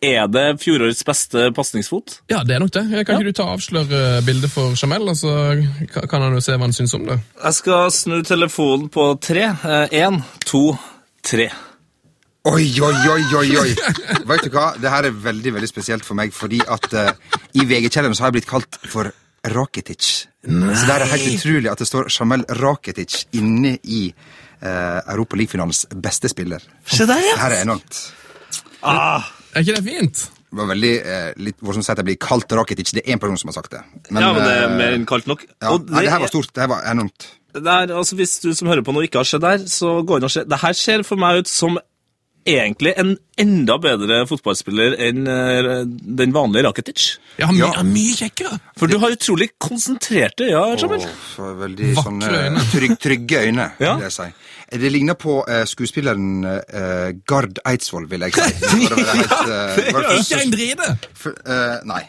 A: er det fjorårets beste pasningsfot?
B: ja, det er nok det. Kan ikke du ta og avsløre bildet for Jamel, og så ka- kan han jo se hva han syns om det?
A: Jeg skal snu telefonen på tre. Én, to, tre.
E: Oi, oi, oi, oi, oi. Vet du hva? Det her er veldig veldig spesielt for meg, fordi at eh, i VG-kjelleren så har jeg blitt kalt for Rakitic. Så det er helt utrolig at det står Jamel Rakitic inne i uh, Europa League-finalens beste spiller.
A: Se der,
E: Det her er enormt.
A: Ah,
B: Er ikke det fint?
E: Det var veldig eh, litt hvor som sier at jeg blir kalt Rakitic. Det er én person som har sagt det. Men,
A: Ja, men det er
E: eh,
A: mer enn kaldt nok.
E: ja.
A: Og
E: Nei, det her var stort. Det her var enormt.
A: det er, altså, hvis du som hører på nå ikke har sett der, så gå inn og se. Det her ser for meg ut som egentlig en enda bedre fotballspiller enn eh, den vanlige Rakitic.
B: Ja, my,
E: Ja.
B: ja. mye kjekkere.
A: For du har utrolig konsentrerte øyne, ja, Jamel.
E: Og for veldig
B: Vakre
E: sånn,
B: øyne.
E: eh, Trygg, trygge øyne,
A: Ja.
E: vil jeg si. Det ligner på eh, skuespilleren eh, Gard Eidsvoll, vil jeg si. For å være helt, eh, bare for-
B: Ikke en drite!
E: for, eh, nei.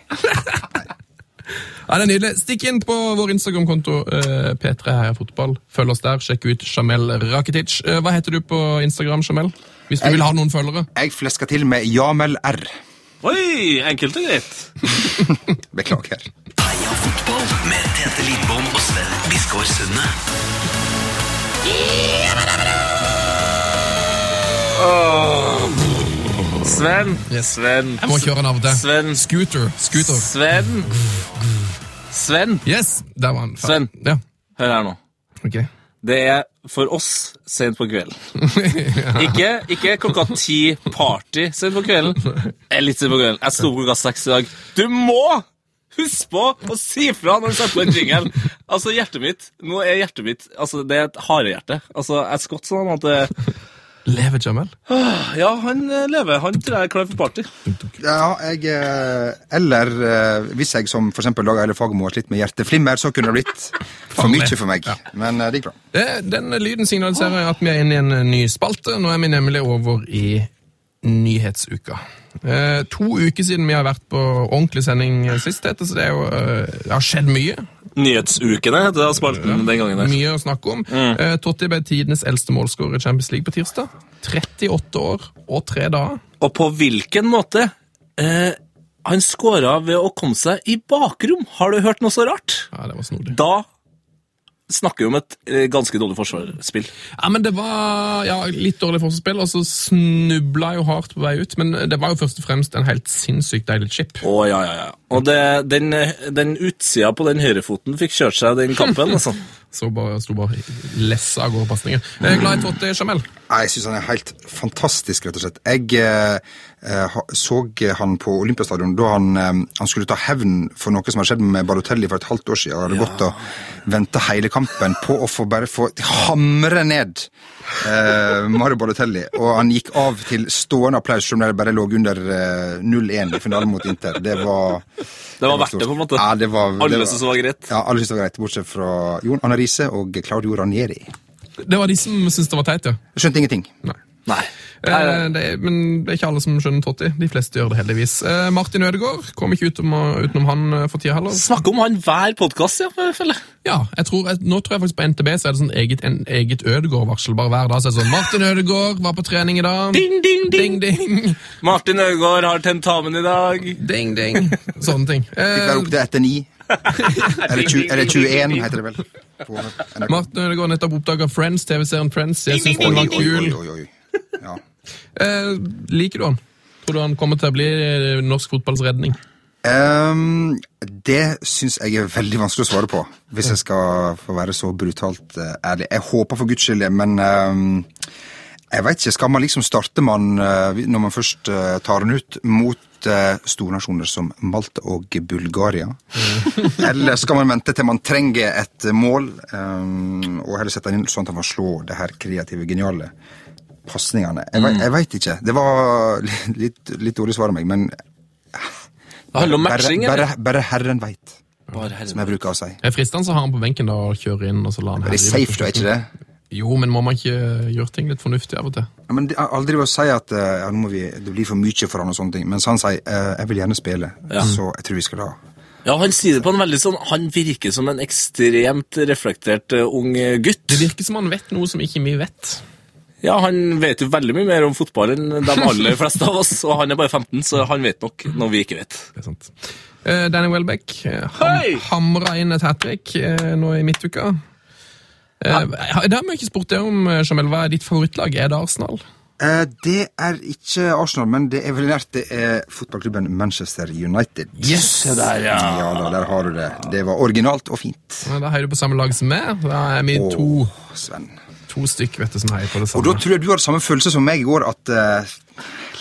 B: Ja, det er nydelig. Stikk inn på vår Instagram-konto, eh, P3 Heia Fotball. Følg oss der. Sjekk ut Jamel Rakitic. Eh, hva heter du på Instagram, Jamel? Hvis du vil ha noen følgere.
E: Jeg fleska til med Jamel R.
A: Oi, enkelt og greit.
E: Beklager.
D: Heia fotball med Tete Lidbom og Sven Biskår Sunde.
A: Sven,
B: Yes.
A: Sven,
B: Jeg må kjøre den av og til.
A: Sven.
B: Scooter. Scooter.
A: Sven.
B: Mm.
A: Sven,
B: Yes, der var han.
A: Sven.
B: Ja,
A: hør her nå.
B: ok.
A: Det er for oss sent på kvelden. Ikke, ikke klokka ti party sent på kvelden. Eh, Litt sent på kvelden. Jeg sto opp klokka seks i dag. Du må huske på å si fra når du setter på en jingle! Altså, hjertet mitt Nå er hjertet mitt Altså, det er et harehjerte. Altså, jeg skvatt sånn at eh,
B: Lever Jamel?
A: Ja, han eh, lever. Han tror jeg er klar for party.
E: Ja, jeg eh, Eller eh, hvis jeg som f.eks. Dag Eile Fagermo har slitt med hjerteflimmer, så kunne det blitt for mye for meg. Men eh, det gikk bra.
B: Eh, Den lyden signaliserer at vi er inne i en eh, ny spalte. Nå er vi nemlig over i nyhetsuka. Eh, to uker siden vi har vært på ordentlig sending sist, heter, det, så det, er jo, eh, det har skjedd mye.
A: Nyhetsukene heter det spalten den gangen. der.
B: Mye å snakke om. Eh, Totti ble tidenes eldste målskårer i Champions League på tirsdag. 38 år og tre dager.
A: Og på hvilken måte? Eh, han skåra ved å komme seg i bakrom. Har du hørt noe så rart?
B: Ja, det var snodig.
A: Da snakker vi om et eh, ganske dårlig forsvarsspill.
B: Ja, men det var ja, litt dårlig forsvarsspill, og så snubla jo hardt på vei ut. Men det var jo først og fremst en helt sinnssykt deilig chip.
A: Å, ja, ja, ja. Og det, den, den utsida på den høyrefoten fikk kjørt seg den kampen. altså.
B: Så bare, sto bare lessa av gårde pasningen. Jeg er glad i Totti, Jamel.
E: Nei, Jeg syns han er helt fantastisk, rett og slett. Jeg eh, eh, ha- så han på Olympiastadion da han, eh, han skulle ta hevn for noe som har skjedd med Barotelli for et halvt år siden. Han hadde gått og venta hele kampen på å få bare få hamre ned eh, Mario Barotelli. Og han gikk av til stående applaus, som om det bare lå under eh, 0-1 i finalen mot Inter. Det var
A: Det var verdt det, på en måte.
E: Ja, det var, det
A: Alle som var greit.
E: Ja, alle syntes det var greit, bortsett fra Jon Anna Riise og Claudio Ranieri.
B: Det var de som syntes det var teit, ja.
E: Jeg skjønte ingenting.
B: Nei.
A: Nei.
B: Eh, det, er- men det er ikke alle som skjønner Totti. De fleste gjør det heldigvis. Eh, Martin Ødegaard kom ikke utenom, utenom han eh, for tida heller.
A: Snakke om han hver podkast, ja, jeg føler jeg.
B: Ja, jeg tror, jeg, nå tror jeg faktisk på NTB så er det sånn eget, en, eget Ødegård-varsel bare hver dag. Så er det sånn, Martin Ødegård var på trening i dag.
A: Ding, ding, ding!
B: ding, ding.
A: Martin Øygaard har tentamen i dag.
B: Ding, ding. Sånne ting.
E: Fikk være
B: Eh,
E: opp til etter 9. Eller, 20, eller 21, heter det vel. På NRK.
B: Martin Ødegaard nettopp oppdaga Friends, TV-serien Friends. Jeg synes
E: Oi,
B: den var
E: oi, oi,
B: kul.
E: oi, oi. Ja.
B: Eh, liker du han? Tror du han kommer til å bli norsk eh, fotballs redning?
E: Ehm, det syns jeg er veldig vanskelig å svare på, hvis jeg skal få være så brutalt eh, ærlig. Jeg håper for guds skyld det, men ehm, jeg veit ikke. Skal man liksom starte man, eh, når man først eh, tar den ut, mot eh, stornasjoner som Malta og Bulgaria? Eller skal man vente til man trenger et mål, ehm, og heller sette den inn sånn at man slår det her kreative, geniale? Pasningene. Jeg, vei- jeg veit ikke. Det var litt, litt dårlig svar av meg, men
A: Det handler om matching,
E: bare,
A: eller?
E: bare, bare herren veit,
A: Bare
E: som jeg
A: herre.
E: bruker å si.
B: Det er fristende å ha han på benken da, og kjøre inn og så la han
E: Det er safe, du er ikke det?
B: Jo, men må man ikke eh, gjøre ting litt fornuftig av og til?
E: Ja, men det er Aldri å si at eh, ja, nå må vi, det blir for mye for han og sånne ting. Mens han sier eh, 'jeg vil gjerne spille', så jeg tror vi skal ha
A: Ja, han sier det på en veldig sånn Han virker som en ekstremt reflektert eh, ung eh, gutt.
B: Det virker som han vet noe som ikke vi vet.
A: Ja, han vet jo veldig mye mer om fotball enn de aller fleste av oss, og han er bare 15, så han vet nok noe vi ikke vet.
B: Det er sant. Eh, Danny Welbeck eh, ham,
A: Hei!
B: hamra inn et hat trick eh, nå i midtuka. Eh, det har vi ikke spurt deg om, eh, Jamel. Hva er ditt favorittlag? Er det Arsenal?
E: Eh, Det er ikke Arsenal, men det er veldig nært. Det er fotballklubben Manchester United.
B: Yes!
A: Det der, ja.
E: Ja da, der har du det. Det var originalt og fint.
B: Da heier du på samme lag som meg. Da er vi
E: Åh,
B: to,
E: Sven.
B: to stykk vet du, som heier på det
E: Og da
B: samme.
E: tror jeg du hadde samme følelse som meg i går, at eh,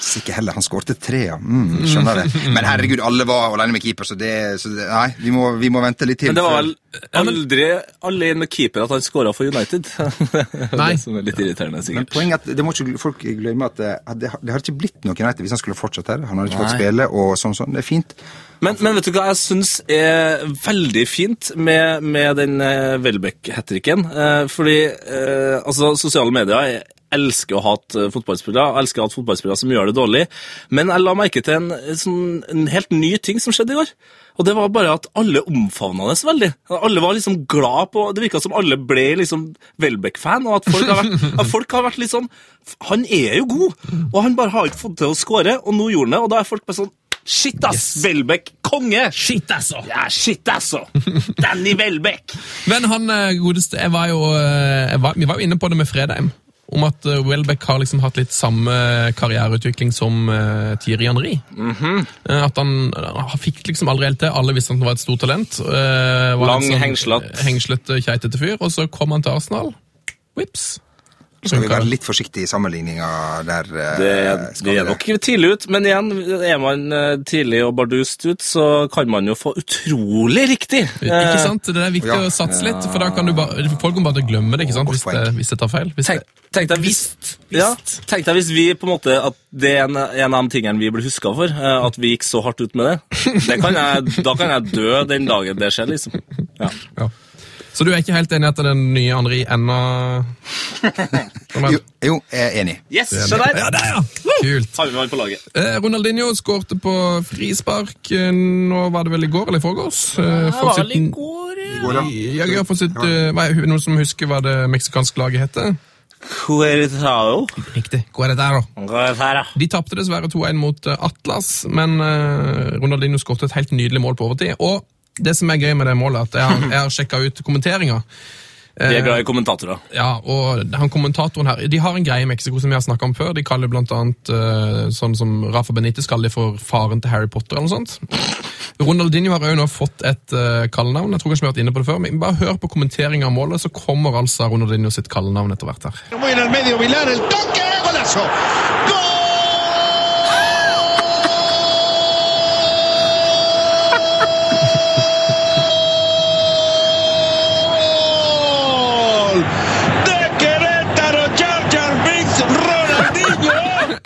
E: Sikkert heller, han skårte tre, ja. Mm, skjønner det. Men herregud, alle var alene med keeper, så det, så det Nei, vi må, vi må vente litt til.
A: Men det var
E: før-
A: vel aldri alene med keeper at han skåra for United.
B: Nei.
A: det som er litt irriterende,
E: Men
A: sikkert.
E: poenget er at det må ikke folk glemme at det, at det, har- det har ikke blitt noe United hvis han skulle fortsatt her. Han har ikke fått
A: Nei.
E: spille og sånn, sånn. Det er fint.
A: Men, men vet du hva jeg syns er veldig fint med, med den eh, Welbeck-hattricken? Eh, fordi eh, altså, sosiale medier jeg elsker å hate eh, fotballspillere, jeg elsker å hate fotballspillere som gjør det dårlig, men jeg la merke til en, eh, sånn, en helt ny ting som skjedde i går. Og det var bare at alle omfavna det så veldig. Alle var liksom glad på Det virka som alle ble liksom Welbeck-fan, og at folk har vært, at folk har vært litt sånn Han er jo god, og han bare har ikke fått til å skåre, og nå gjorde han det, og da er folk bare sånn Shit, ass! Welbeck, konge!
B: Shit, altså!
A: Ja, shit, altså! Danny Welbeck!
B: Men han eh, godeste jeg var jo, eh, jeg var, Vi var jo inne på det med Fredheim. Om at eh, Welbeck har liksom hatt litt samme karriereutvikling som eh, Thierry Henry.
E: Mhm.
B: Eh, At han, han fikk liksom aldri helt til. Alle visste at han var et stort talent. eh, var
A: Lang,
B: en sånn
A: hengslete.
B: Hengslete, keitete fyr. Og så kom han til Arsenal. Vips.
E: Skal vi
B: Funka.
E: være litt forsiktige i sammenligninga der? eh,
A: Sånn. Det,
E: skal
A: det
E: vi
A: er nok tidlig ut, men igjen, er man eh, tidlig og bardust ut, så kan man jo få utrolig riktig.
B: Ikke sant? Det er viktig
E: Eh,
B: å
E: Ja.
B: satse litt, for da kan du bare, folk kommer bare til å glemme det ikke sant?
E: Godt
B: Hvis, det,
E: poeng.
B: hvis det tar feil. Hvis
A: Tenk,
B: det,
A: tenk deg hvis, ja, tenk deg hvis vi på en måte At det er en, en av de tingene vi blir huska for. eh, At vi gikk så hardt ut med det. det kan jeg, da kan jeg dø den dagen det skjer, liksom. Ja.
B: ja. Så du er ikke helt enig i at den nye Henri ennå
E: Jo, jo, jeg er enig.
A: Yes, se der!
B: Ja, der, ja! Kult.
A: Har vi meg på laget.
B: Eh, Ronaldinho skårte på frispark. eh, Nå var det vel i går eller i forgårs? Eh, for sitt-
A: går, ja.
E: Går, ja.
B: Ja, ja, for sitt, eh, hva er- noen som husker hva det meksikanske laget heter?
A: Cuertao.
B: Riktig. Hva er det der, da?
A: Cuertao.
B: De tapte dessverre 2-1 mot eh, Atlas, men eh, Ronaldinho skåret et helt nydelig mål på overtid. Og det som er gøy med det målet, er at jeg har, jeg har sjekka ut kommenteringa.
A: Vi er glad i kommentatorer.
B: Ja, og han kommentatoren her, De har en greie i Mexico som vi har snakka om før. De kaller blant annet eh, sånn som Rafa Benitez kaller de for faren til Harry Potter. eller noe sånt. Ronaldinho har jo nå fått et eh, kallenavn. Jeg tror kanskje vi har vært inne på det før, men Bare hør på kommenteringa av målet, så kommer altså Ronaldinho sitt kallenavn etter hvert her.
F: Muy en el medio, Vilar, el toque, golazo. ¡Gol! De Querétaro, Jar Jar Binks, Ronaldinho.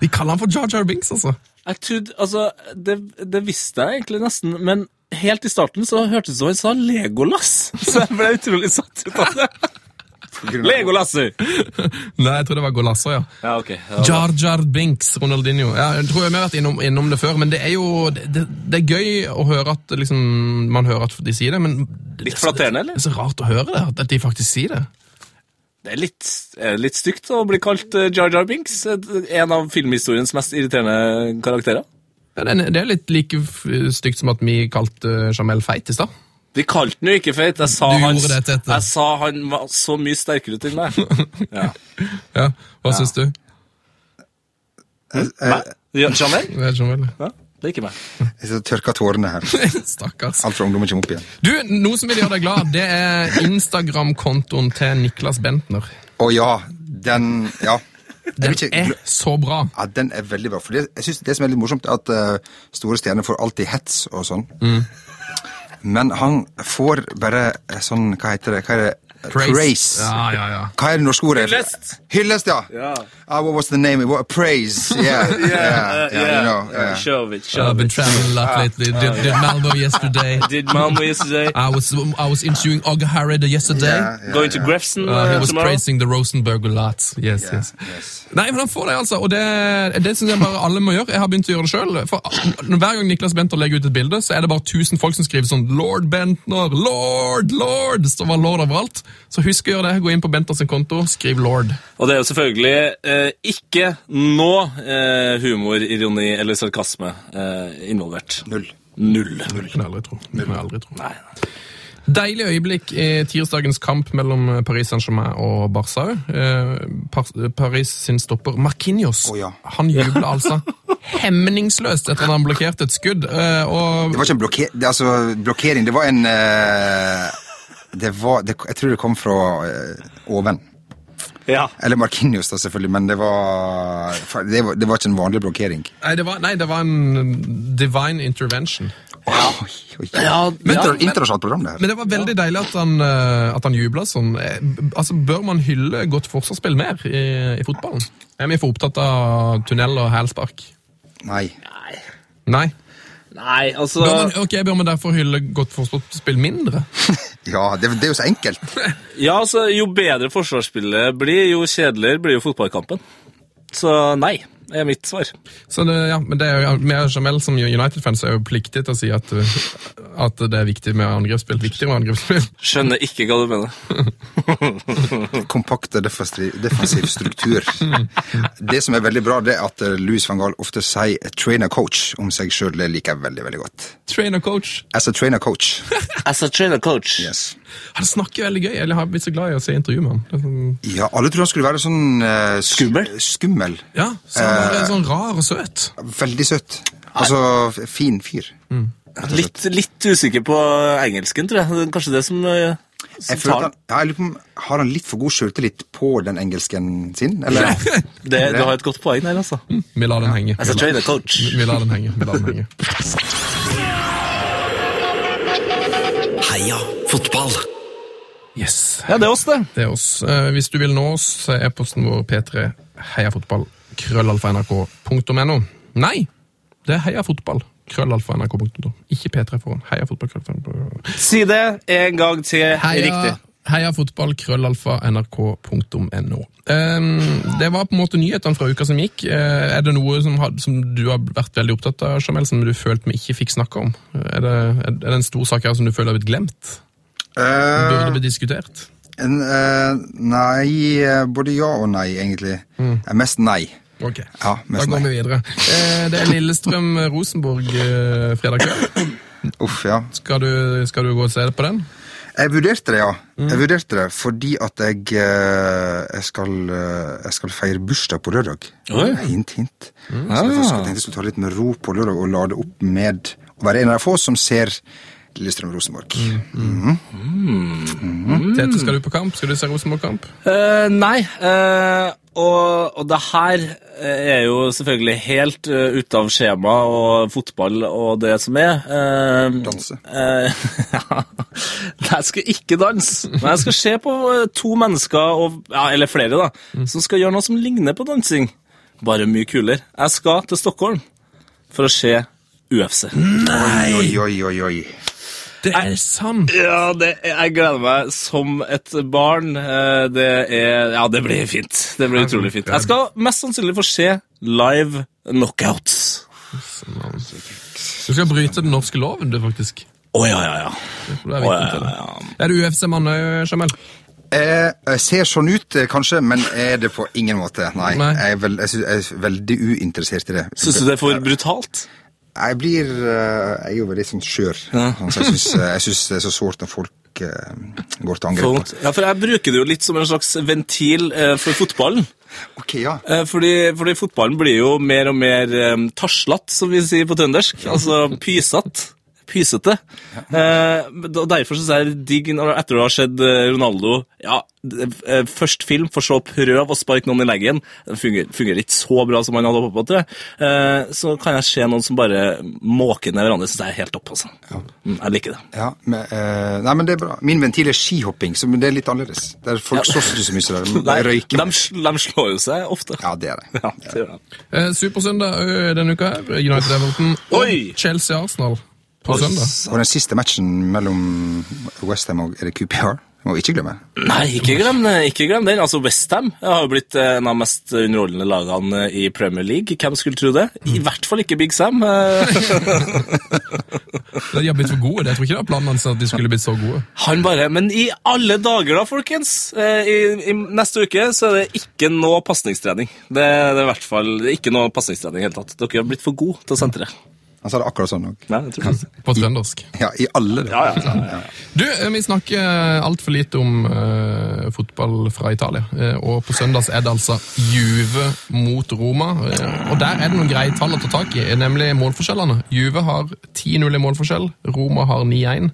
B: De kaller han for Jar Jar Binks, altså.
A: Jeg trodde, altså, det, det visste jeg egentlig nesten, men helt i starten så hørtes det som han sa Legolas. Så jeg ble utrolig satt ut av det. Legolasser!
B: Nei, jeg tror det var Golasso, ja.
A: Ja, ok.
B: Jar Jar Binks, Ronaldinho. Ja, jeg tror vi har vært innom, innom det før, men det er jo det, det det er gøy å høre at liksom, man hører at de sier det, men det,
A: Litt flatterende, eller?
B: Det er så rart å høre det, at- at de faktisk sier det.
A: Det er litt, er det litt stygt å bli kalt eh, Jar Jar Binks, en av filmhistoriens mest irriterende karakterer.
B: Ja, det, er, det er litt like f- stygt som at vi kalte eh, Jamel feit i stad.
A: Vi kalte han jo ikke feit. Jeg sa,
B: Du
A: han,
B: gjorde det, Tete.
A: jeg sa han var så mye sterkere ut enn meg. Ja.
B: Ja, hva syns du?
A: Hæ? Ja, Jamel?
B: Det er Jamel.
A: Ja. Det er ikke meg.
E: Jeg sitter og tørker tårene her.
B: Stakkars.
E: Alt fra ungdommen kommer opp igjen.
B: Du, noe som vil gjøre deg glad, det er Instagram-kontoen til Niklas Bentner.
E: Å ja, den Ja. Jeg vil
B: Den
E: ikke
B: er
E: gl-
B: så bra.
E: Ja, den er veldig bra. For det, jeg synes det som er litt morsomt, er at eh, store stjerner får alltid hets og sånn. Men han får bare eh, sånn Hva heter det? Hva er det? Praise.
B: Ja, ja, ja.
E: Hva er det norske ordet?
A: Hyllest.
E: Hyllest, ja. Ah, what was the name? What, praise. Yeah. yeah.
A: Eh,
E: yeah, Uh, you know, yeah.
A: Shove it,
B: I've
A: shove
B: been
A: it.
B: traveling a lot lately. Did, did Malmo yesterday.
A: Did Malmo yesterday.
B: I was I was interviewing Ogge Harrod yesterday.
E: Yeah, yeah,
A: Going to
E: yeah.
A: Grefsen
B: Uh, he
A: uh,
B: was
A: tomorrow.
B: praising the Rosenberg a lot. Yes,
E: Yeah,
B: yes.
E: yes.
B: Nei, men han får det, altså. Og det, det syns jeg bare alle må gjøre. Jeg har begynt å gjøre det sjøl. Hver gang Niklas Bentner legger ut et bilde, så er det bare 1000 folk som skriver sånn 'Lord Bentner', 'Lord', 'Lord'. Så var lord overalt. Så husk å gjøre det. Gå inn på Bentner sin konto, skriv 'Lord'.
A: Og det er jo selvfølgelig eh, ikke nå eh, humor, ironi eller sarkasme eh, involvert.
E: Null.
A: Null.
B: Det kan jeg aldri tro. Det kan jeg aldri tro.
A: Nei.
B: Deilig øyeblikk i tirsdagens kamp mellom eh, Paris Saint-Germain og Barca. Eh, Par Paris sin stopper Marquinhos.
E: Å, ja.
B: Han jubla altså hemningsløst etter at han blokkerte et skudd. eh, og
E: Det var ikke en blokke, det, altså, blokkering, det var en eh, Det var det, Jeg tror det kom fra eh, oven.
A: Ja.
E: Eller Markinius, da, selvfølgelig, men det var, det var Det var ikke en vanlig blokkering.
B: Nei, det var, nei, det var en divine intervention.
E: Oi, oi. Inter, internasjonalt program, det her.
B: Men det var veldig deilig at han, eh, at han jubla sånn. Eh, b- Altså, Bør man hylle godt forsvarsspill mer i, i fotballen? Er vi for opptatt av tunnel og hælspark?
E: Nei.
A: Nei.
B: Nei.
A: Nei, altså
B: Bør man, ok, Bør man derfor hylle godt forsvarsspill mindre?
E: Ja, det, det er jo så enkelt.
A: Ja, altså, jo bedre forsvarsspillet blir, jo kjedeligere blir jo fotballkampen. Så nei, er mitt svar.
B: Så det, ja, men det er jo, Vi Jamel som United-fans er jo pliktig til å si at, uh, at det er viktig med angrepsspill. Viktig med angrepsspill.
A: Skjønner ikke hva du mener.
E: kompakt og defensiv, defensiv struktur. Det som er veldig bra, det er at eh, Louis van Gaal ofte sier 'trainer coach' om seg sjøl. Det liker jeg veldig veldig godt.
B: Trainer coach.
E: As a trainer coach.
A: As a trainer coach.
E: Yes.
B: Han snakker veldig gøy. Eller jeg har blitt så glad i å se intervju med han. Det er sånn-
E: Ja, alle tror han skulle være sånn eh, sk-
A: Skummel?
E: Skummel.
B: Ja, så han er sånn rar og søt.
E: Veldig søt. Altså f- fin fyr.
A: Litt, litt usikker på engelsken, tror jeg. Det er Kanskje det som, eh, som
E: Jeg føler
A: tar
E: at han, ja, jeg lurer på om Har han litt for god sjøltillit på den engelsken sin? Eller?
A: det, Du har et godt poeng der, altså.
B: Vi lar den henge.
A: As a trainer coach.
B: Vi lar den henge. Vi lar den henge.
D: Heia fotball.
B: Yes.
A: Ja, det er oss, det.
B: Det er oss. Eh, Hvis du vil nå oss, så er e-posten vår p3 heiafotball krøllalfa nrk.no. Nei, det er heiafotball krøllalfa nrk.no. Ikke p3 foran. Heiafotball krøllalfa nrk.no.
A: Si det en gang til riktig.
B: Heiafotball krøllalfa nrk.no. Ehm, det var på en måte nyhetene fra uka som gikk. Eh, er det noe som, har, som du har vært veldig opptatt av, Jamel, som du følte vi ikke fikk snakke om? Er det, er det en stor sak her som du føler har blitt glemt?
E: Eh,
B: Burde blitt diskutert?
E: en, eh, nei eh, Både ja og nei, egentlig. Eh, Mest nei.
B: Ok,
E: Ja,
B: da
E: mest
B: går
E: nei.
B: vi videre. Eh, det er Lillestrøm-Rosenborg eh, fredag kveld.
E: Uff, ja.
B: Skal du, skal du gå og se på den?
E: Jeg vurderte det, ja.
A: Mm.
E: Jeg vurderte det Fordi at jeg, eh, jeg, skal, eh, jeg skal feire bursdag på lørdag.
A: Oi. Mm. Ah.
E: Hint, hint. Så jeg først tenkte jeg skulle ta det litt med ro på lørdag og lade opp med å være en av de få som ser Lillestrøm Rosenborg.
A: Mm.
B: Tete, skal du på kamp? Skal du se Rosenborg-kamp?
A: Eh, nei, eh, og, og det her eh, er jo selvfølgelig helt uh, ute av skjema og fotball og det som er. Eh,
E: Danse.
A: eh, ja. Jeg skal ikke danse, men jeg skal se på eh, to mennesker, og, ja, eller flere, da, som skal gjøre noe som ligner på dansing. Bare mye kulere. Jeg skal til Stockholm for å se UFC.
E: Oi, oi, oi, oi.
B: Det er sant!
A: Ja, det, jeg gleder meg som et barn. Eh, Det er Ja, det blir fint. Det blir utrolig fint. Jeg skal mest sannsynlig få se live knockouts.
B: Du skal bryte den norske loven, du, faktisk.
A: Å ja, ja, ja.
B: Du
A: Å,
B: er, vitne
A: ja,
B: til
A: ja,
B: det.
A: ja.
B: er du UFC-mann òg, Jamel?
E: Eh, Jeg ser sånn ut, eh, kanskje, men er det på ingen måte. Nei.
B: Nei.
E: Jeg, er vel, jeg, synes, jeg er veldig uinteressert i det.
A: Syns du det er for brutalt?
E: Jeg blir eh, Jeg er jo veldig sånn skjør. Så jeg syns, eh, jeg syns det er så sårt når folk eh, går til angrep. på
A: Ja, for jeg bruker det jo litt som en slags ventil eh, for fotballen.
E: Ok, ja.
A: Eh, Fordi, fordi fotballen blir jo mer og mer um, taslatt, som vi sier på trøndersk. Altså pysatt. Pysete. Eh, men da- derfor syns jeg det er digg når- etter du har sett eh, Ronaldo ja, d- eh, Først film, for så å prøve å sparke noen i leggen. Det fungerer, fungerer ikke så bra som han hadde håpet på, tror jeg. Eh, så kan jeg se noen som bare måker ned hverandre. Syns jeg er helt topp, altså. Mm, jeg liker det.
E: ja men, eh, nei, men det er bra. Min ventil er skihopping, så men det er litt annerledes. Der folk slåss ikke så mye, så de
A: Nei,
E: de røyker.
A: de, sl- de slår jo seg ofte.
E: Ja, det er det.
A: Ja, det gjør de.
B: Eh, Supersøndag ø, denne uka. her, United Everton og
A: Oi!
B: Chelsea-Arsenal på søndag.
E: Og den siste matchen mellom Westham og er det QPR? Jeg må ikke glemme.
A: Nei, ikke glem, ikke glem den. Altså, Westham har jo blitt eh, en av de mest underholdende lagene i Premier League. Hvem skulle tro det? I hvert fall ikke Big Sam. Eh,
B: De har blitt for gode. Jeg tror ikke det var planen hans at de skulle blitt så gode.
A: Han bare Men i alle dager, da, folkens! Eh, I, i neste uke så er det ikke noe pasningstrening. Det, det er i hvert fall det er ikke noe pasningstrening i det hele tatt. Dere har blitt for gode til å sentre.
E: Han sa det akkurat sånn òg.
A: Nei, jeg tror ikke det.
B: På trøndersk.
E: Ja, i alle det.
A: Ja, ja.
B: Du, eh, vi snakker altfor lite om eh, fotball fra Italia. Eh, og på søndag er det altså Juve mot Roma. Eh, og der er det noen greie tall å ta tak i, nemlig målforskjellene. Juve har 10-0 i målforskjell, Roma har 9-1.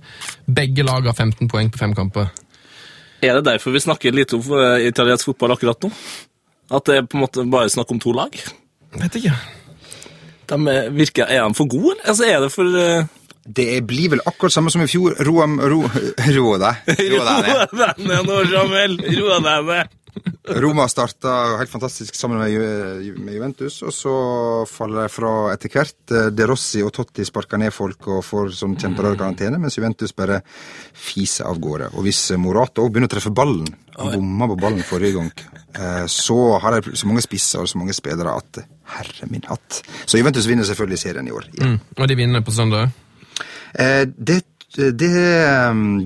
B: Begge lag har 15 poeng på fem kamper.
A: Er det derfor vi snakker lite om eh, italiensk fotball akkurat nå? At det er på en måte bare snakk om to lag?
B: Vet ikke.
A: De er, virker, er de for gode, eller altså, er det for eh,
E: Det er- blir vel akkurat samme som i fjor. Roam Ro... Ro deg. Ro deg ned.
A: Roa deg ned nå, Jamel. Roa deg ned.
E: Roma starta helt fantastisk sammen med, Ju- Ju- med Juventus, og så faller de fra etter hvert. Eh, De Rossi og Totti sparker ned folk og får sånn temporær karantene, mens Juventus bare fiser av gårde. Og hvis Morata òg begynner å treffe ballen, han bomma på ballen forrige gang, eh, så har de så mange spisser og så mange spillere at herre min hatt. Så Juventus vinner selvfølgelig serien i år. igjen.
B: Mm. Og de vinner på søndag.
E: Eh, Det det,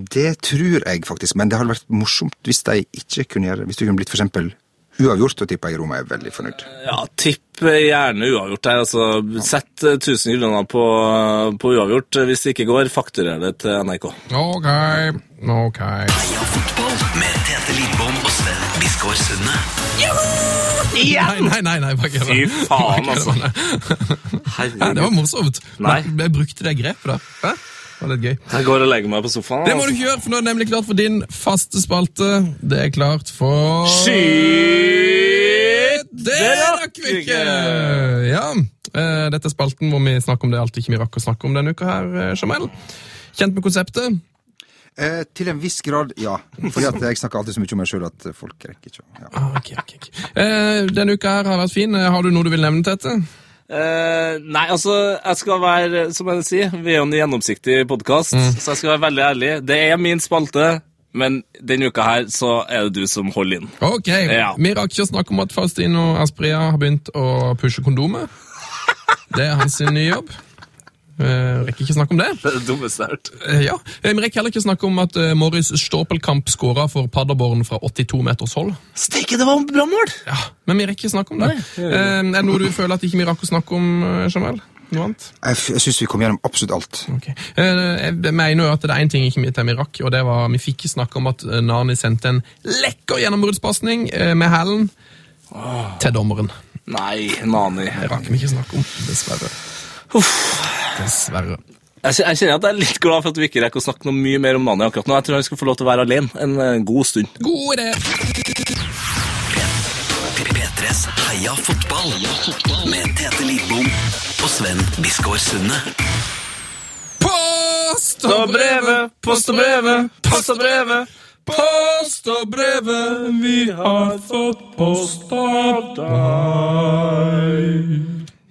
E: det tror jeg faktisk, men det hadde vært morsomt hvis de ikke kunne gjøre Hvis du kunne blitt for eksempel uavgjort, og tipper jeg Roma er veldig fornøyd.
A: Ja, tipp gjerne uavgjort her. Altså, sett eh, 1000 kroner på, på uavgjort. Hvis det ikke går, fakturer det til NRK.
B: Ok, ok.
D: Heia fotball med Tete Lidbom og Sven Biskår Sunde.
B: Nei, nei, nei, nei bare kødda.
A: Fy faen,
B: Bare kødda,
A: altså.
B: nei. Nei, Det var morsomt.
A: Nei.
B: Men Jeg brukte det grepet der. Hæ? Det var litt gøy.
A: Jeg går og legger meg på sofaen. altså.
B: Det må du ikke gjøre, for nå er det nemlig klart for din faste spalte. Det er klart for
A: Skyt!
B: Det rakk vi ikke! Ja, eh, Dette er spalten hvor vi snakker om det alt ikke vi rakk å snakke om denne uka her, eh, Jamal. Kjent med konseptet?
E: Eh, til en viss grad, ja. Fordi at jeg snakker alltid så mye om meg sjøl at folk rekker ikke. å- Ja.
B: Ah, ok, ok, ok. Eh, Denne uka her har vært fin. Eh, Har du noe du vil nevne til dette?
A: Eh, nei, altså, jeg skal være, som jeg sier, vi er jo en gjennomsiktig podkast, så jeg skal være veldig ærlig. Det er min spalte, men denne uka her så er det du som holder inn.
B: Ok,
A: Ja.
B: Vi rakk ikke å snakke om at Faustino Aspria har begynt å pushe kondomet. Det er hans nye jobb. Eh, rekker ikke å snakke om det.
A: Det er det dummeste jeg har hørt.
B: Eh, Ja, Eh, Vi rekker heller ikke snakke om at eh, Morris Storpelkamp skåra for Padderborn fra 82 meters hold.
A: Steike, det var et bra mål!
B: Ja, Men vi rekker ikke snakke om det. Eh, er det noe du føler at ikke vi rakk å snakke om, eh, Jamal? Noe annet?
E: Jeg, f jeg syns vi kom gjennom absolutt alt.
B: Ok. Eh, Jeg mener jo at det er én ting ikke vi til vi rakk, og det var vi fikk snakke om at eh, Nani sendte en lekker gjennombruddspasning eh, med hælen til dommeren.
A: Nei, Nani.
B: Det rakk vi ikke snakke om, dessverre. Dessverre.
A: Jeg kjen- jeg kjenner at jeg er litt glad for at vi ikke rekker å snakke noe mye mer om Nani akkurat nå. Jeg tror han skal få lov til å være alene en eh, god stund.
B: God idé!
D: P3s Heia fotball med Tete Lidbom og Sven Biskår Sunde.
B: Post og brevet, post og brevet, post og brevet. Post og brevet, vi har fått post av deg.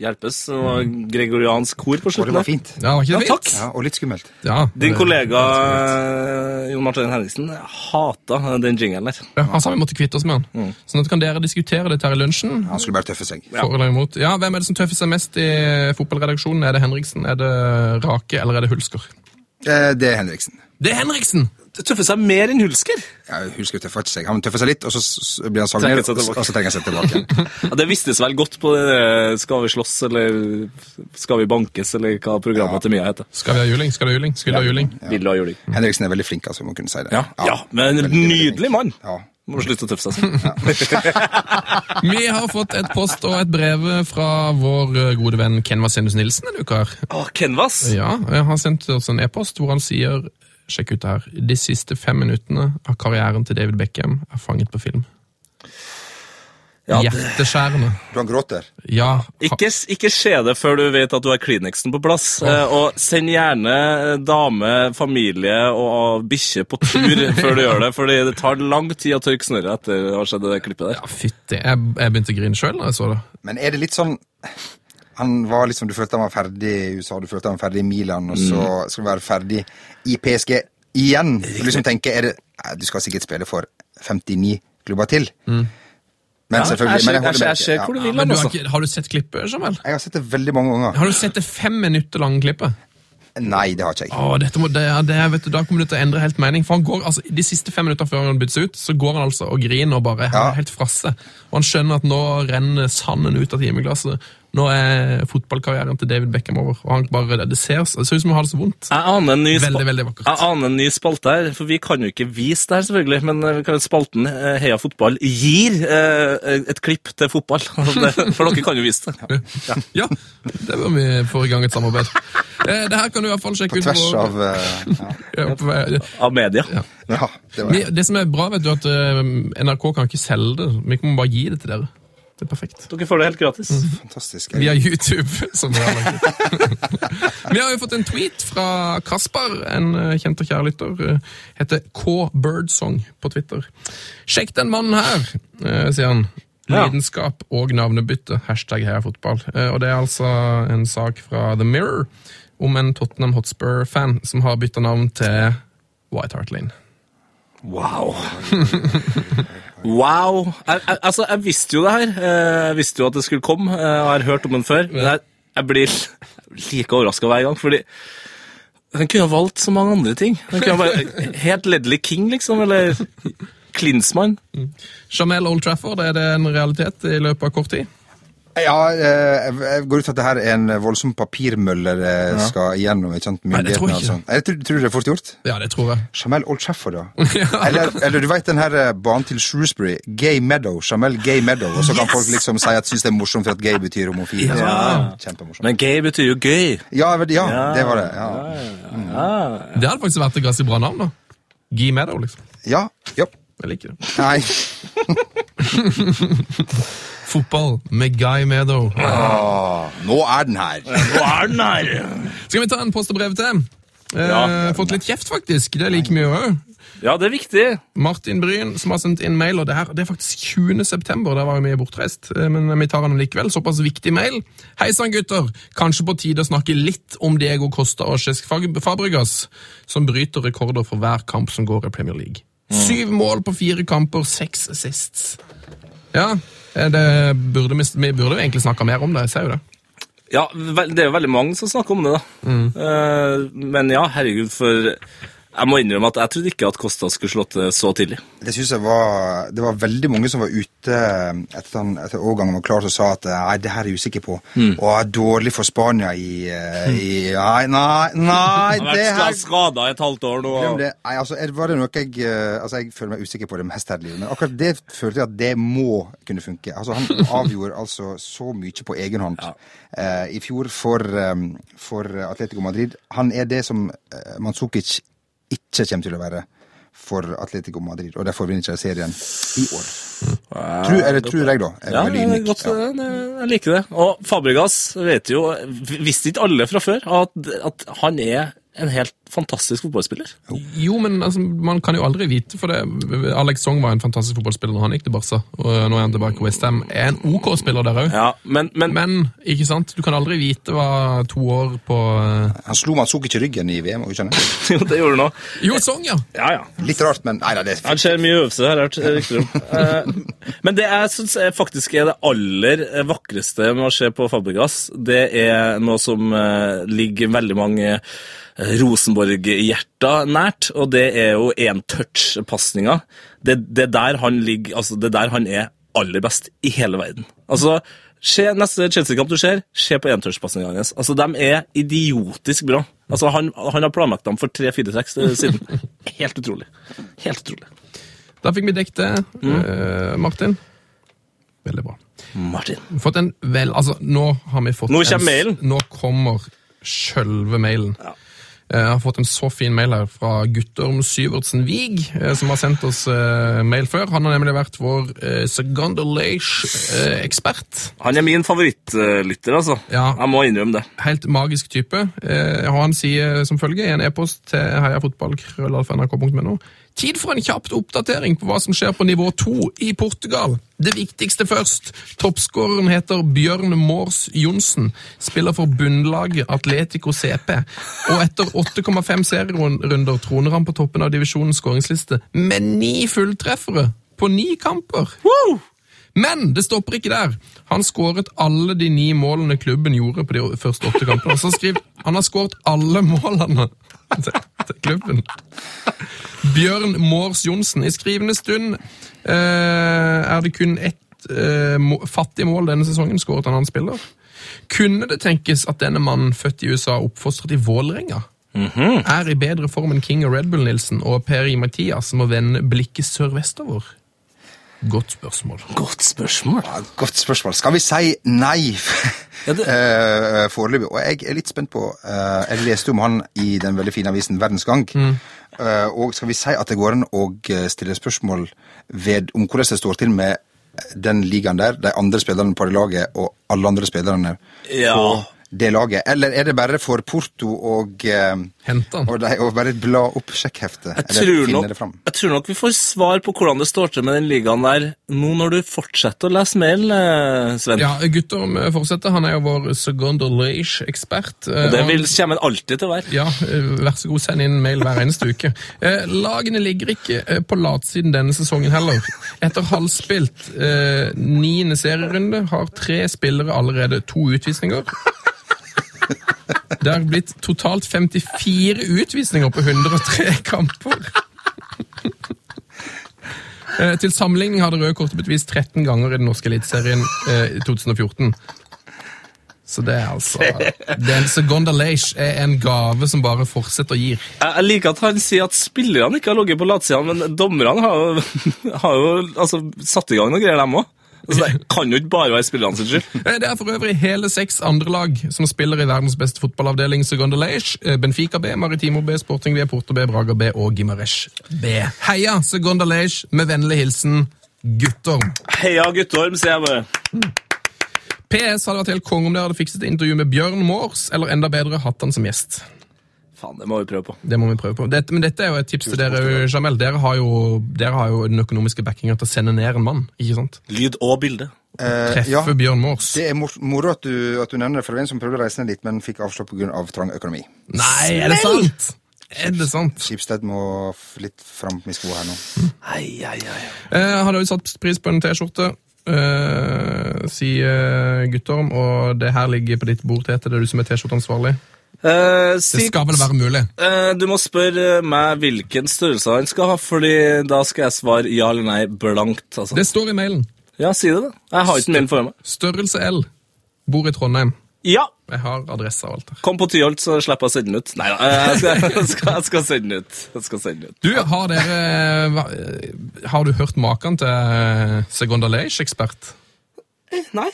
A: Hjelpes og gregoriansk kor på
E: Og det
A: slutten. der.
E: var fint.
B: Ja, var ikke det
A: Ja, takk.
B: fint?
E: Ja, og litt skummelt.
B: Ja,
A: Din
B: det-
A: kollega eh, Jon Martin Henriksen hata den jingelen der.
B: Ja, Han sa vi måtte kvitte oss med han. Sånn at kan dere diskutere dette her i lunsjen.
E: Han skulle bare tøffe seg.
B: For eller imot. Ja, Hvem er det som tøffer seg mest i fotballredaksjonen? Er det Henriksen, er det Rake eller er det Hulsker?
E: Eh, det er Henriksen.
B: Det er Henriksen!
A: Det tøffer seg mer enn Hulsker.
E: Jeg husker tøffa ikke seg. Han tøffer seg litt, og så s- s- blir han sagnet,
A: Trekker seg
E: og så
A: tilbake.
E: og så trenger han seg tilbake. igjen.
A: Ja, det vistes vel godt på det der, eh, Skal vi slåss, eller Skal vi bankes, eller hva programmet til Mia heter.
B: Skal vi ha juling? Skal du ha juling? Skal du ha juling?
A: Vil du ha juling?
E: Henriksen er veldig flink, altså, må kunne si det.
A: Ja, men en nydelig mann.
E: Ja.
A: Må slutte å tøffe seg. sånn.
B: Vi har fått et post og et brev fra vår eh, gode venn Ken Vasenus Nilsen denne uka. her.
A: Å, Canvas!
B: Ja, eh, Han sendte oss en e-post hvor han sier Sjekk ut det her. De siste fem minuttene av karrieren til David Beckham er fanget på film.
A: Ja, det-
B: Hjerteskjærende.
E: Du han gråter.
B: Ja. ha-
A: Ikke, ikke se det før du vet at du har Kleenexen på plass. eh, Og send gjerne eh, dame, familie og bikkje på tur før du gjør det, fordi det tar lang tid å tørke snørret etter å ha skjedd det klippet der.
B: Ja, Fytti. Jeg, jeg begynte å grine sjøl da jeg så det.
E: Men er det litt sånn han var liksom, Du følte han var ferdig i USA, du følte han var ferdig i Milan, og så
B: Mm.
E: skal han være ferdig i PSG igjen. Du liksom tenker, er det, nei, Du skal sikkert spille for 59 klubber til.
B: Mm.
E: Men
A: Ja, jeg
E: selvfølgelig
A: ser-
E: men
A: jeg
E: jeg,
A: ser-
E: holder
A: jeg ser hvor du
E: med. deg.
A: vil,
B: Men du har,
A: altså.
B: ikke, har du sett klippet, Jamal?
E: Ja. Jeg har sett det veldig mange ganger.
B: Har du sett det fem minutter lange klippet?
E: Nei, det har ikke jeg.
B: Å, dette må, det, det, vet du, Da kommer det til å endre helt mening. For han går, altså, De siste fem minutter før han byttes ut, så går han altså og griner og bare
E: Ja.
B: er helt frasse. Og han skjønner at nå renner sanden ut av timeglasset. Nå er fotballkarrieren til David Beckham over. og han bare, Det, det ser, det ser ut som han har det så vondt.
A: Jeg aner, en ny spa-
B: Veldig, veldig vakkert.
A: jeg aner en ny spalte her, for vi kan jo ikke vise det her, selvfølgelig. Men eh, vi kan- spalten eh, Heia fotball gir eh, et klipp til fotball. Det- For dere kan jo vise det.
B: Ja, det bør vi få i gang et samarbeid. Eh, det her kan du i hvert fall sjekke ut.
E: Tvers
B: på-
E: av eh, ja.
B: Ja, på vei-
A: Av media.
E: ja, det var
B: Vi- Det som er bra, vet du, at eh, NRK kan ikke selge det. Vi må bare gi det til dere. Det er perfekt.
A: Dere får det helt gratis.
B: Mm.
E: fantastisk.
B: Via YouTube. som Vi har lagt ut. Vi har jo fått en tweet fra Kaspar, en eh, kjent og kjær lytter. eh, Heter K Birdsong på Twitter. Sjekk den mannen her, eh, sier han.
A: Ja.
B: Lidenskap og navnebytte. Hashtag heia fotball. Eh, Og det er altså en sak fra The Mirror om en Tottenham Hotspur-fan som har bytta navn til White Hart Lane.
A: Wow. wow. Jeg, jeg, altså, jeg visste jo det her. Eh, Jeg visste jo at det skulle komme, eh, og jeg har hørt om den før. Men jeg, jeg blir like overraska hver gang, fordi han kunne ha valgt så mange andre ting. Han kunne ha bare Helt Ledley King, liksom, eller Klinsmann.
B: Jamel Old Trafford, er det en realitet i løpet av kort tid?
E: Ja, eh, jeg jeg går ut fra at det her er en voldsom papirmølle det skal igjennom. ikke sant?
B: Nei, det tror jeg
E: Myndighetene og
B: ikke.
E: sånn. Jeg tror, tror du det er fort gjort.
B: Ja, det tror jeg.
E: Jamel Old Trafford, ja. eller, eller du vet den her eh, banen til Shrewsbury. Gay Meadow. Jamel Gay Meadow. Og så kan folk liksom si at syns det er morsomt for at gay betyr homofil. og sånn. Ja. Kjempemorsomt.
A: Men gay betyr jo gøy.
E: Ja, vel, ja, det var det. Ja.
B: Det hadde faktisk vært et ganske bra navn, da. Gi med deg, liksom.
E: Ja, ja.
B: Jeg liker det.
E: Nei.
B: Fotball med Guy Meadow.
E: Nå er den her.
A: Nå er den her!
B: Skal vi ta en post og brev til? Eh,
A: Ja.
B: Fått litt kjeft, faktisk. Det liker vi jo òg.
A: Ja, det er viktig.
B: Martin Bryn som har sendt inn mail, og det her det er faktisk 20. september. Der var jo vi bortreist, eh, men vi tar den likevel. Såpass viktig mail. Hei sann, gutter! Kanskje på tide å snakke litt om Diego Costa og Cesc Fag- Fabregas, som bryter rekorder for hver kamp som går i Premier League. Syv mål på fire kamper, seks assists. Ja, eh, det burde vi, vi burde jo egentlig snakka mer om det. Jeg ser jo det.
A: Ja, vel- det er jo veldig mange som snakker om det, da. Eh, men ja, herregud, for jeg må innrømme at jeg trodde ikke at Kosta skulle slått det så tidlig.
E: Det synes jeg var, det var veldig mange som var ute eh, etter, han, etter overgangen var klar, som sa at eh, nei, det her er jeg usikker på. Og er dårlig for Spania i, eh, i Nei, nei, nei det her
A: skada i et halvt år nå.
E: Glem det. Nei, altså, er- var det noe jeg eh, Altså, jeg føler meg usikker på det meste her i livet, men akkurat det følte jeg at det må kunne funke. Altså, han avgjorde altså så mye på egen hånd eh, i fjor for, eh, for Atletico Madrid. Han er det som eh, Mandzukic ikke kommer til å være for Atletico Madrid, og derfor vinner ikke serien i år. Tror, eller tror jeg, da. Jeg er
A: Ja,
E: veldig
A: det er
E: ydmyk.
A: godt, eh.
E: Ja.
A: det- det- jeg liker det. Og Fabregas vet jo, visste ikke alle fra før, at, at han er en helt fantastisk fotballspiller.
B: Jo, men altså, man kan jo aldri vite, for det. Alex Song var en fantastisk fotballspiller når han gikk til Barca, og nå er han tilbake i Westham. Er en OK spiller der òg.
A: Ja, men, men,
B: Men ikke sant? du kan aldri vite hva to år på eh,
E: Han slo Mandzukic i ryggen i VM, og ikke sant?
A: jo, det gjorde han òg.
B: Jo, Song, ja!
A: Ja, ja.
E: Litt rart, men nei da, det er
A: Han ser mye øvelse, har jeg hørt eh, rykter om. Eh, Men det jeg syns faktisk er det aller eh, vakreste med å se på Fabregas, det er noe som eh, ligger veldig mange eh, Rosenborg-hjerter nært, og det er jo én-touch-pasninga. Det, det der han ligger Altså, det der han er aller best i hele verden. Altså, se neste Chelsea-kamp du ser, se på én-touch-pasningene hans. Altså, de er idiotisk bra. Altså, eh, han, han har planlagt dem for tre-fire trekk siden. Helt utrolig. Helt utrolig.
B: Da fikk vi dekket det, eh, Martin. Veldig bra.
A: Martin.
B: Fått en vel, altså, nå har vi fått
A: Nå
B: en
A: kommer
B: s-
A: mailen.
B: Nå kommer sjølve mailen.
A: Ja.
B: Eh, Jeg har fått en så fin mail her fra Guttorm Syvertsen Wiig, eh, som har sendt oss eh, mail før. Han har nemlig vært vår eh, uh, Segundalage-ekspert.
A: Han er min favorittlytter, altså.
B: Ja.
A: Jeg må innrømme det.
B: Helt magisk type. Eh, og han sier som følge i en e-post til heiafotballkrøllalfa.nrk.no Tid for en kjapt oppdatering på hva som skjer på nivå 2 i Portugal. Det viktigste først. Toppskåreren heter Bjørn Mårs Johnsen. Spiller for bunnlaget Atletico CP. Og etter 8,5 serierunder troner han på toppen av divisjonens skåringsliste med ni fulltreffere på ni kamper. Men det stopper ikke der. Han skåret alle de ni målene klubben gjorde på de første åtte kampene. Og så skriver han har skåret alle målene til, til klubben. Bjørn Mårs Johnsen. I skrivende stund eh, er det kun ett eh, må- fattig mål denne sesongen skåret en annen spiller. Kunne det tenkes at denne mannen, født i USA, oppfostret i Vålerenga, er i bedre form enn King og Red Bull Nilsen og Per I. Mathias må vende blikket sørvestover? Godt spørsmål.
A: Godt spørsmål.
E: Ja, Godt spørsmål. Skal vi si nei
A: Ja, det-
E: Eh, foreløpig? Og jeg er litt spent på eh, Jeg leste om han i den veldig fine avisen Verdens Gang.
A: Mm.
E: Eh, og skal vi si at det går an å eh, stille spørsmål ved om hvordan det står til med den ligaen der, de andre spillerne på det laget og alle andre spillerne
A: Ja.
E: på det laget? Eller er det bare for Porto og eh,
B: Hente han.
E: Og, de, og bare bla opp sjekkheftet?
A: Jeg
E: eller
A: tror,
E: finne
A: nok,
E: det fram?
A: jeg tror nok vi får svar på hvordan det står til med den ligaen der nå når du fortsetter å lese mail, eh, Sven.
B: Ja, Guttorm eh, fortsetter. Han er jo vår Segundalage-ekspert. eh,
A: Og det
B: og-
A: vil, kommer han alltid til å være.
B: Ja, eh, vær så god, send inn mail hver eneste uke. Eh, Lagene ligger ikke eh, på latsiden denne sesongen heller. Etter halvspilt eh, niende serierunde har tre spillere allerede to utvisninger. Det har blitt totalt 54 utvisninger på 103 kamper. Eh, Til sammenligning har det røde kortet blitt vist 13 ganger i den norske eliteserien eh, i 2014. Så det er altså Den Segondalage er en gave som bare fortsetter å gi.
A: Jeg jeg liker at han sier at spillerne ikke har ligget på latsiden, men dommerne har jo, har jo altså, satt i gang noen greier, dem òg. Så det kan jo ikke bare være spillerne sin skyld.
B: Eh, Det er for øvrig hele seks andre lag som spiller i verdens beste fotballavdeling Segondalage. Eh, Benfica B, Maritimo B, Sporting B, Porto B, Braga B og Gimaresh B. Heia Segondalage! Med vennlig hilsen Guttorm.
A: Heia Guttorm, sier jeg bare.
B: PS hadde vært helt konge om dere hadde fikset et intervju med Bjørn Mårs, eller enda bedre hatt han som gjest.
A: Faen, det må vi prøve på.
B: Det må vi prøve på. Dette, men dette er jo et tips til dere, Jamel. Dere har jo, dere har jo den økonomiske backinga til å sende ned en mann, ikke sant?
A: Lyd og bilde.
E: Eh,
B: Treffe
E: ja.
B: Bjørn Mårs.
E: Det er mor- moro at du, at du nevner det, for det var en som prøvde å reise ned dit, men fikk avslag pga. Av trang økonomi.
B: Nei, er det sant? Er det sant?
E: Skipsted må f- litt fram med skoene her nå.
A: Hei, hei, hei.
B: Eh, hadde jo satt pris på en T-skjorte, eh, sier Guttorm, og det her ligger på ditt bord, Tete. Det er du som er T-skjorteansvarlig.
A: Eh,
B: Det
A: si,
B: skal vel være mulig?
A: eh, du må spørre meg hvilken størrelse han skal ha, fordi da skal jeg svare ja eller nei blankt. Altså.
B: Det står i mailen.
A: Ja, si det, da. Jeg har ikke mailen foran meg.
B: Størrelse L. Bor i Trondheim.
A: Ja!
B: Jeg har adresse og alt der.
A: Kom på Tyholt, så slipper jeg å sende den ut. Nei da, jeg skal, jeg skal, jeg skal sende den ut. Jeg skal sende den ut.
B: Du, har dere eh, hva- Har du hørt maken til eh, Segondalage-ekspert?
A: Nei.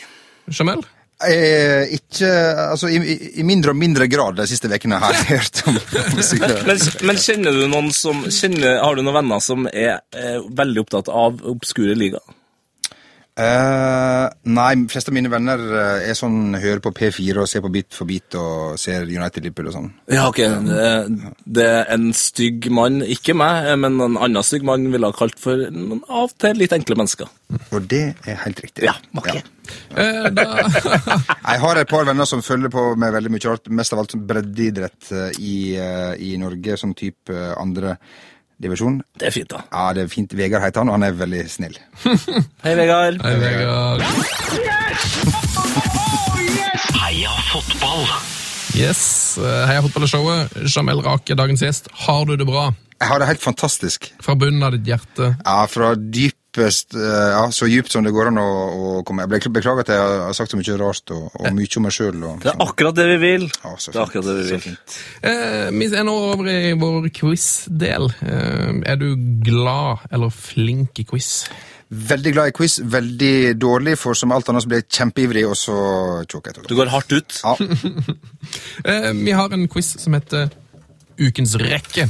B: Jamel?
E: Eh, ikke Altså, i, i- i mindre og mindre grad de siste ukene har jeg hørt om
A: Men, men kjenner du noen som kjenner, Har du noen venner som er, eh, veldig opptatt av obskure liga?
E: Eh, Nei, de fleste av mine venner eh, er sånn hører på P4 og ser på Bit for bit og ser United Liverpool og sånn.
A: Ja, ok. Det, det er en stygg mann, ikke meg, eh, men en annen stygg mann ville ha kalt for noen av og til litt enkle mennesker.
E: Og det er helt riktig.
A: Ja, ok.
B: Eh, da
E: Jeg har et par venner som følger på med veldig mye rart, mest av alt som breddeidrett eh, i, eh, i Norge, som type eh, andre divisjon.
A: Det er fint, da.
E: Ja, det er fint. Vegard heter han, og han er veldig snill.
A: Hei, Vegard.
B: Hei, Vegard.
D: Heia fotball!
B: Yes. eh, Heia fotballshowet. Jamel Rake, dagens gjest. Har du det bra?
E: Jeg har det helt fantastisk.
B: Fra bunnen av ditt hjerte.
E: Ja, fra dyp, dypest eh, Ja, så dypt som det går an å, å komme. Jeg ble- beklager at jeg har sagt så mye rart, og, og mye om meg sjøl.
A: Det er akkurat det vi vil.
E: Ja, så
A: det er akkurat det vi
E: fint,
A: vil.
E: så
B: Eh, vi er nå over i vår quiz-del. Eh, er du glad eller flink i quiz?
E: Veldig glad i quiz, veldig dårlig, for som alt annet så ble jeg kjempeivrig, og så choka jeg
A: Du
E: til.
A: går hardt ut.
E: Ja,
B: Eh, vi har en quiz som heter Ukens rekke.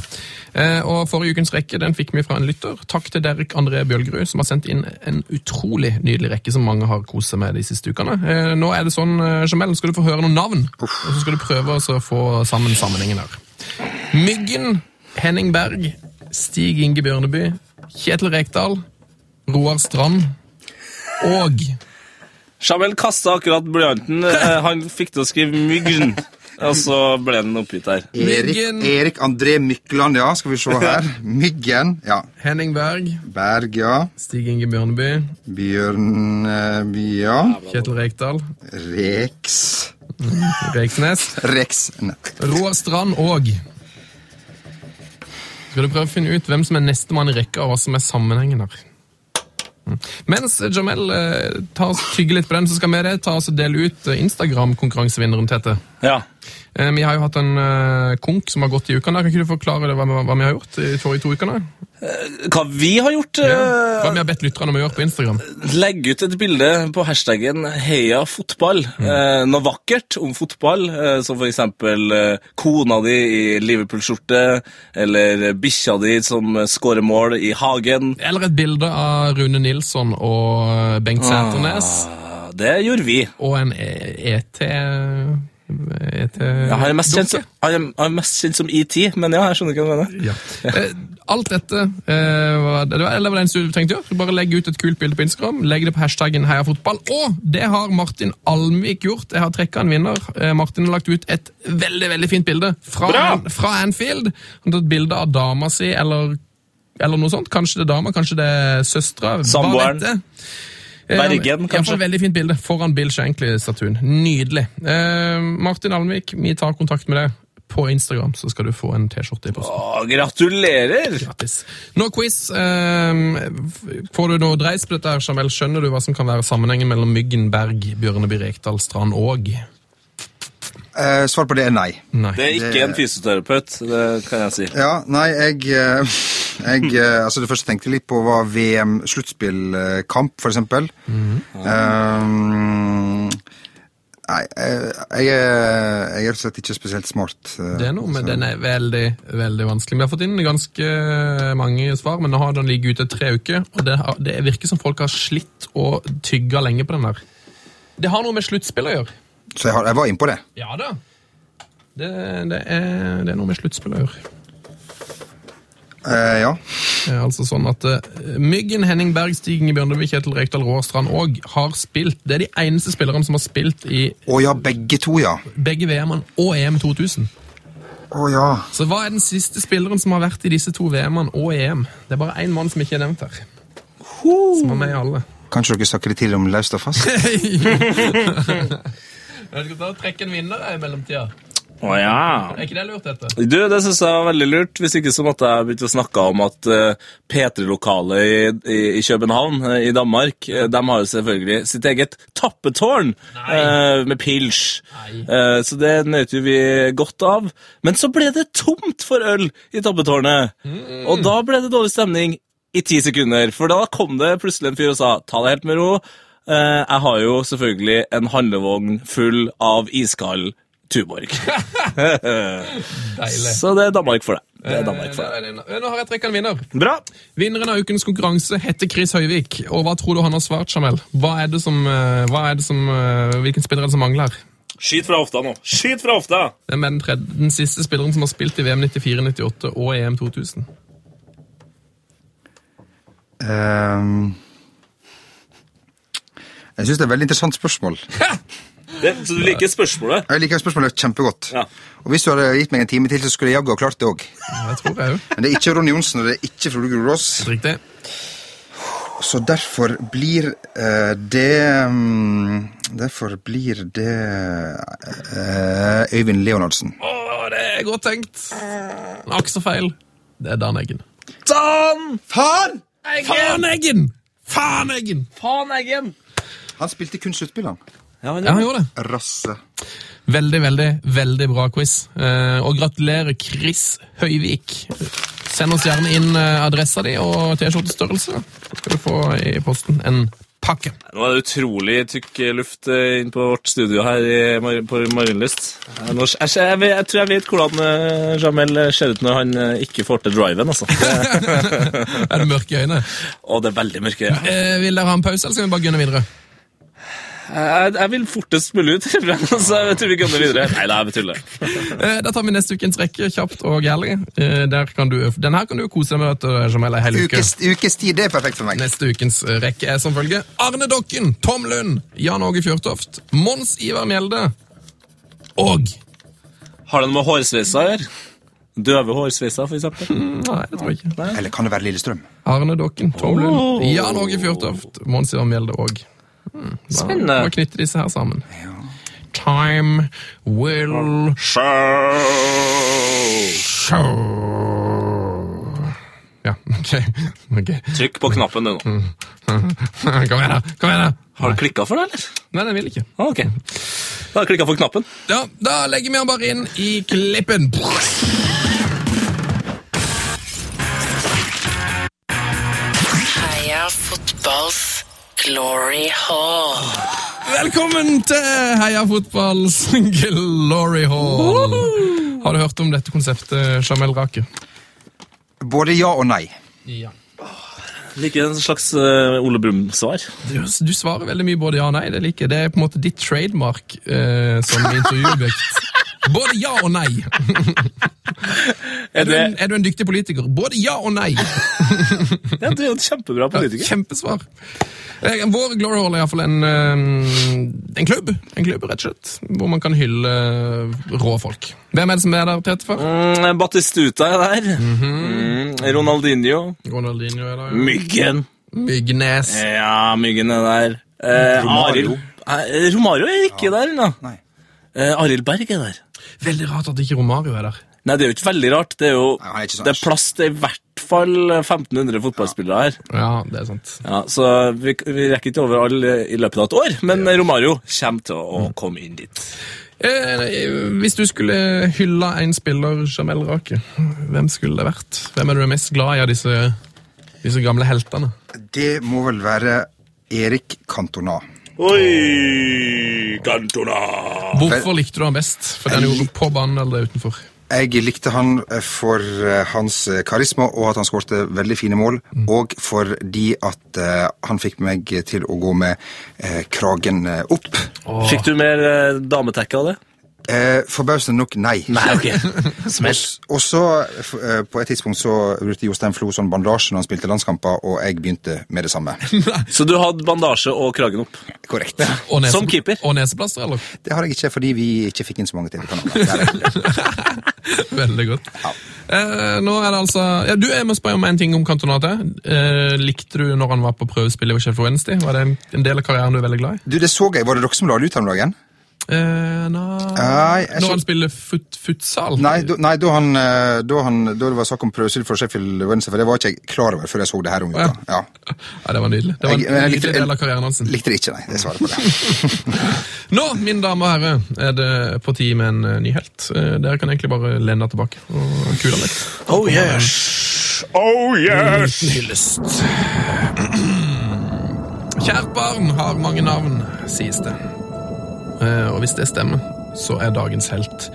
B: Eh, og Forrige ukens rekke den fikk vi fra en lytter. Takk til Derek André Bjølgerud, som har sendt inn en utrolig nydelig rekke som mange har kost seg med de siste ukene. Eh, nå er det sånn, eh, Jamel, skal du få høre noen navn, og så skal du prøve å så få sammen sammenhengen her. Myggen, Henning Berg, Stig Inge Bjørneby, Kjetil Rekdal, Roar Strand og
A: Jamel kasta akkurat blyanten. Eh, Han fikk til å skrive 'myggen', og så ble den oppgitt her.
E: Erik,
B: Myggen.
E: Erik André Mykland, ja, skal vi se her. Myggen, ja.
B: Henning Berg,
E: Berg, ja.
B: Stig Inge Bjørneby,
E: Bjørn, eh, ja.
B: Kjetil Rekdal,
E: Rex
B: Reksnes
E: Rex. Nei.
B: Roar Strand og Skal du prøve å finne ut hvem som er nestemann i rekka, og hva som er sammenhengen her? Mm. Mens Jamel eh, tar oss tygge litt på den, så skal vi ta oss og dele ut eh, Instagram-konkurransevinneren, Tete.
A: Ja.
B: Eh, vi har jo hatt en eh, konk som har gått i ukene. Kan ikke du forklare det, hva, vi- hva vi har gjort i de forrige to ukene?
A: Hva vi har gjort? eh,
B: Hva vi har bedt lytterne om å gjøre på Instagram?
A: Legg ut et bilde på hashtaggen heia fotball. Eh, noe vakkert om fotball, eh, som for eksempel eh, kona di i Liverpool-skjorte, eller bikkja di som eh, skårer mål i hagen.
B: Eller et bilde av Rune Nilsson og eh, Bengt Sæternes
A: Ah, det gjorde vi.
B: og en E- ET... ET...
A: Ja, han, er mest kjent,
B: dukke.
A: som- han, er, han er mest kjent som ET, men ja, jeg skjønner ikke hva du mener.
B: Ja. Eh, Alt dette eh, var det, eller var det eneste du tenkte å gjøre? Bare legg ut et kult bilde på Instagram, legg det på hashtaggen heiafotball. Og det har Martin Almvik gjort. Jeg har trekka en vinner. Eh, Martin har lagt ut et veldig veldig fint bilde fra, An, fra Anfield. Han har tatt bilde av dama si eller eller noe sånt. Kanskje det er dama, kanskje det er søstera. hva
A: Samboeren.
B: vet jeg? Eh,
A: Bergen,
B: i hvert fall
A: kanskje?
B: Veldig fint bilde foran Bill Shankly-statuen. Nydelig. Eh, Martin Almvik, vi tar kontakt med deg på Instagram, så skal du få en T-skjorte i posten.
A: Å, gratulerer!
B: Grattis. Nå quiz. ehm, får du noe dreis på dette, her, Jamel? Skjønner du hva som kan være sammenhengen mellom Myggen, Berg, Bjørneby, Rekdal, Strand og
E: Eh, svar på det er nei.
B: Nei.
A: Det er ikke en fysioterapeut, det kan jeg si.
E: Ja, nei, jeg, eh, jeg eh, Altså, det første jeg tenkte litt på, var VM-sluttspillkamp, for eksempel.
B: Mhm.
E: Eh, nei, eh, jeg, er- jeg er rett og slett ikke spesielt smart. eh,
B: Det er noe, men
E: så-
B: den er veldig, veldig vanskelig. Vi har fått inn ganske mange svar, men nå har den ligget ute i tre uker, og det, har- det virker som folk har slitt og tygga lenge på den der. Det har noe med sluttspill å gjøre.
E: Så jeg, har, jeg var innpå det.
B: Ja da. Det, det, er, det er noe med sluttspill å gjøre.
E: Eh, ja.
B: Det er altså sånn at eh, Myggen, Henning Berg, Stig Inge Bjørndøvi, Kjetil Rekdal, Råstrand og har spilt. Det er de eneste spillerne som har spilt i
E: Å ja, begge to, ja.
B: begge VM-ene og E EM 2000.
E: Å ja.
B: Så hva er den siste spilleren som har vært i disse to VM-ene og EM? Det er bare én mann som ikke er nevnt her. Som var med i alle.
E: Kanskje dere snakker litt til om løst og fast?
B: Jeg skal ta og trekke en vinner i mellomtida.
A: Å ja.
B: Er ikke det lurt, dette?
A: Du, Det syns jeg var veldig lurt. Hvis ikke så måtte jeg begynt å snakke om at eh, P3-lokalet i, i, i København eh, i Danmark eh, de har jo selvfølgelig sitt eget tappetårn eh, med pils. Eh, så det nøt jo vi godt av. Men så ble det tomt for øl i tappetårnet, og da ble det dårlig stemning i ti sekunder. For da kom det plutselig en fyr og sa ta det helt med ro. Eh, jeg har jo selvfølgelig en handlevogn full av iskald Tuborg.
B: Deilig.
A: Så det er Danmark for deg. Det er Danmark for deg.
B: Eh, Nå nå har jeg trekka en vinner.
A: Bra!
B: Vinneren av ukens konkurranse heter Chris Høyvik. Og hva tror du han har svart, Jamel? Hva er det som, eh, hva er det som eh, Hvilken spiller er det som mangler?
A: Skyt fra hofta nå. Skyt fra hofta!
B: Det er den, tredje, den siste spilleren som har spilt i VM 94, 98 og EM 2000.
E: Ehm, jeg syns det er et veldig interessant spørsmål.
A: Det, så du liker spørsmålet?
E: Jeg liker spørsmålet kjempegodt.
A: Ja.
E: Og Hvis du hadde gitt meg en time til, så skulle jeg jaggu ha klart det òg.
B: Det tror jeg òg.
E: Men det er ikke Ronny Johnsen, og det er ikke Frode Gurås.
B: Riktig.
E: Så derfor blir eh, det mm, Derfor blir det eh, Øyvind Leonardsen.
B: Å, det er godt tenkt! En aksefeil. Det er Dan Eggen.
A: Dan!
E: Far!
B: Dan Eggen! Faen, Eggen!
A: Faen, Eggen!
E: Han spilte kun sluttspill, han.
A: Ja, men,
B: Ja, han gjorde det.
E: Rasse.
B: Veldig, veldig, veldig bra quiz. Eh, og gratulerer Chris Høyvik. Send oss gjerne inn eh, adressa di og T-skjortestørrelse. Skal du få i posten en pakke.
A: Nå er det utrolig tykk luft eh, inn på vårt studio her i, Mar- på Marienlyst. Eh, nå- Jeg, jeg, jeg, vet- jeg tror jeg vet hvordan eh, Jamel ser ut når han eh, ikke får til driven, altså. Det,
B: Er det mørke i øynene?
A: og det er veldig mørke. øyne.
B: Eh, vil dere ha en pause, eller skal vi bare gunne videre?
A: Jeg, jeg vil fortest mulig ut, så jeg tror vi gønner videre. Nei, det er betuller.
B: Eh, da tar vi neste ukens rekke kjapt og gærlig. Eh, der kan du, den her kan du kose deg med, vet du, Jamel, ei hel uke.
E: Ukes, ukes tid, det er perfekt for meg.
B: Neste ukens rekke er som følger Arne Dokken, Tom Lund, Jan Åge Fjørtoft, Mons Ivar Mjelde og
A: Har det noe med hårsveisa å gjøre? Døve hårsveiser, for eksempel.
B: Nei, det tror jeg ikke.
E: Eller kan det være Lillestrøm?
B: Arne Dokken,
A: Oh.
B: Tom Lund, Jan Åge Fjørtoft, Mons Ivar Mjelde og
A: Spennende.
B: Må knytte disse her sammen. Time will show. Ja, ok. ok.
A: Trykk på knappen, du nå.
B: Kom igjen, da! Kom igjen da.
A: Har du klikka for det, eller?
B: Nei, den vil ikke.
A: Ah, Ok. Da har jeg klikka for knappen.
B: Ja, da legger vi han bare inn i klippen.
G: Heia fotballs glory hall.
B: Velkommen til Heia fotballs glory hall. Har du hørt om dette konseptet, Jamel Rake?
E: Både ja og nei.
B: Ja.
A: Like en slags eh, Ole Brumm-svar.
B: Du, du svarer veldig mye både ja og nei. Det liker jeg. Det er på en måte ditt trademark eh, som intervjuobjekt. Både ja og nei.
A: Er
B: Er du,
A: det
B: en, er du en dyktig politiker? Både ja og nei.
A: Ja, du er jo en kjempebra politiker.
B: Kjempesvar. Eh, Vår Glory Hall er iallfall en, eh, en klubb, En klubb, rett og slett, hvor man kan hylle eh, rå folk. Hvem er det som er der, Peter? Far?
A: Mm, Batistuta er der. mm, Ronaldinho.
B: Ronaldinho er der. ja.
A: Myggen.
B: Mygnes.
A: Ja, Myggen er der. Eh,
E: Romario.
A: Arild- Eh, Romario er ikke der ennå.
E: Nei.
A: Eh, Arild Berg er der.
B: Veldig rart at ikke Romario er der.
A: Nei, det er jo ikke veldig rart. Det er jo
E: Nei, han er ikke sånn.
A: det er plass til i hvert fall 1500 fotballspillere her.
B: Ja, det er sant.
A: Ja, så vi, vi rekker ikke over alle i løpet av et år, men Romario kommer til å, å komme inn dit.
B: Eh, hvis du skulle hylle en spiller, Jamel Rake, hvem skulle det vært? Hvem er du er mest glad i av disse, disse gamle heltene?
E: Det må vel være Erik Cantona.
A: Oi, Cantona!
B: Hvorfor likte du han best? For den gjorde på banen eller utenfor.
E: Jeg likte han eh, for eh, hans eh, karisma og at han skårte veldig fine mål,
A: Mm.
E: og fordi at eh, han fikk meg til å gå med eh, kragen eh, opp.
A: Fikk du mer eh, dametekke av det?
E: Eh, Forbausende nok, nei.
A: Nei, ok. Smell.
E: Og så, f- eh, på et tidspunkt, så brukte Jostein Flo sånn bandasje når han spilte landskamper, og jeg begynte med det samme.
A: Så du hadde bandasje og kragen opp.
E: Korrekt.
B: Og
A: Som keeper.
B: Og neseplaster, eller?
E: Det har jeg ikke fordi vi ikke fikk inn så mange TV-kanaler.
B: Veldig godt. Eh, nå er det altså ja, du, Jeg må spørre om en ting om Cantona til. Eh, likte du når han var på prøvespill i Sheffield Wednesday? Var det en, en del av karrieren du er veldig glad i?
E: Du, det så jeg. Var det dere som la det ut her om dagen?
B: Eh, nei,
E: Nei, jeg så-
B: Når han spiller fut, futsal?
E: Nei, da, nei, da, han, eh, da, han, da det var snakk om prøvespill for Sheffield Wednesday, for det var ikke jeg klar over før jeg så det her om uka. Ja.
B: Ja, det var nydelig. Det var en
E: Jeg- men jeg likte-
B: nydelig del av karrieren hans.
E: Likte det ikke, nei. Det svarer på det.
B: Nå, mine damer og herrer, er det på tide med en eh, ny helt. Eh, Dere kan egentlig bare lene dere tilbake og kule den litt.
A: Oh yes! Oh yes!
B: Hyllest. Kjært barn har mange navn, sies det. Eh, Og hvis det stemmer, så er dagens helt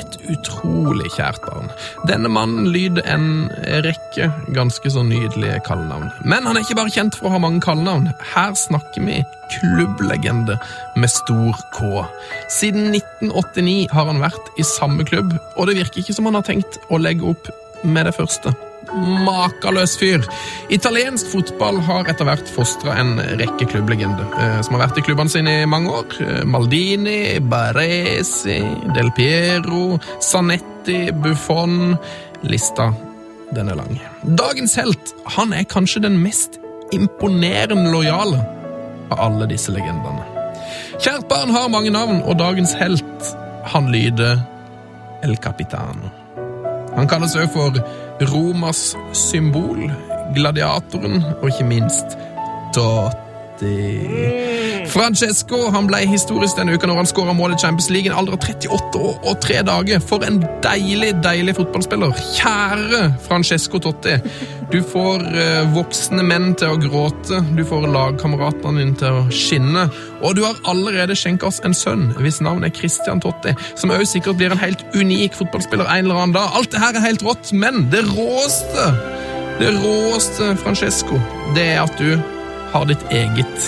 B: et utrolig kjært barn. Denne mannen lyder en rekke ganske så nydelige kallenavn. Men han er ikke bare kjent for å ha mange kallenavn. Her snakker vi klubblegende med stor K. Siden 1989 har han vært i samme klubb, og det virker ikke som han har tenkt å legge opp med det første. Makeløs fyr. Italiensk fotball har etter hvert fostra en rekke klubblegender, eh, som har vært i klubbene sine i mange år. Eh, Maldini, Baresi, Del Piero, Sanetti, Buffon Lista, den er lang. Dagens helt, han er kanskje den mest imponerende lojale av alle disse legendene. Kjært barn har mange navn, og dagens helt, han lyder El Capitano. Han kalles òg for Romas symbol, gladiatoren og ikke minst Totti. Francesco han ble historisk denne uka når han skåra mål i Champions League i en alder av 38 år og 3 dager. For en deilig, deilig fotballspiller. Kjære Francesco Totti. Du får eh, voksne menn til å gråte, du får lagkameratene dine til å skinne, og du har allerede skjenka oss en sønn, hvis navn er Christian Totti, som også sikkert blir en helt unik fotballspiller en eller annen dag. Alt det her er helt rått, men det råeste det råeste, Francesco, det er at du har ditt eget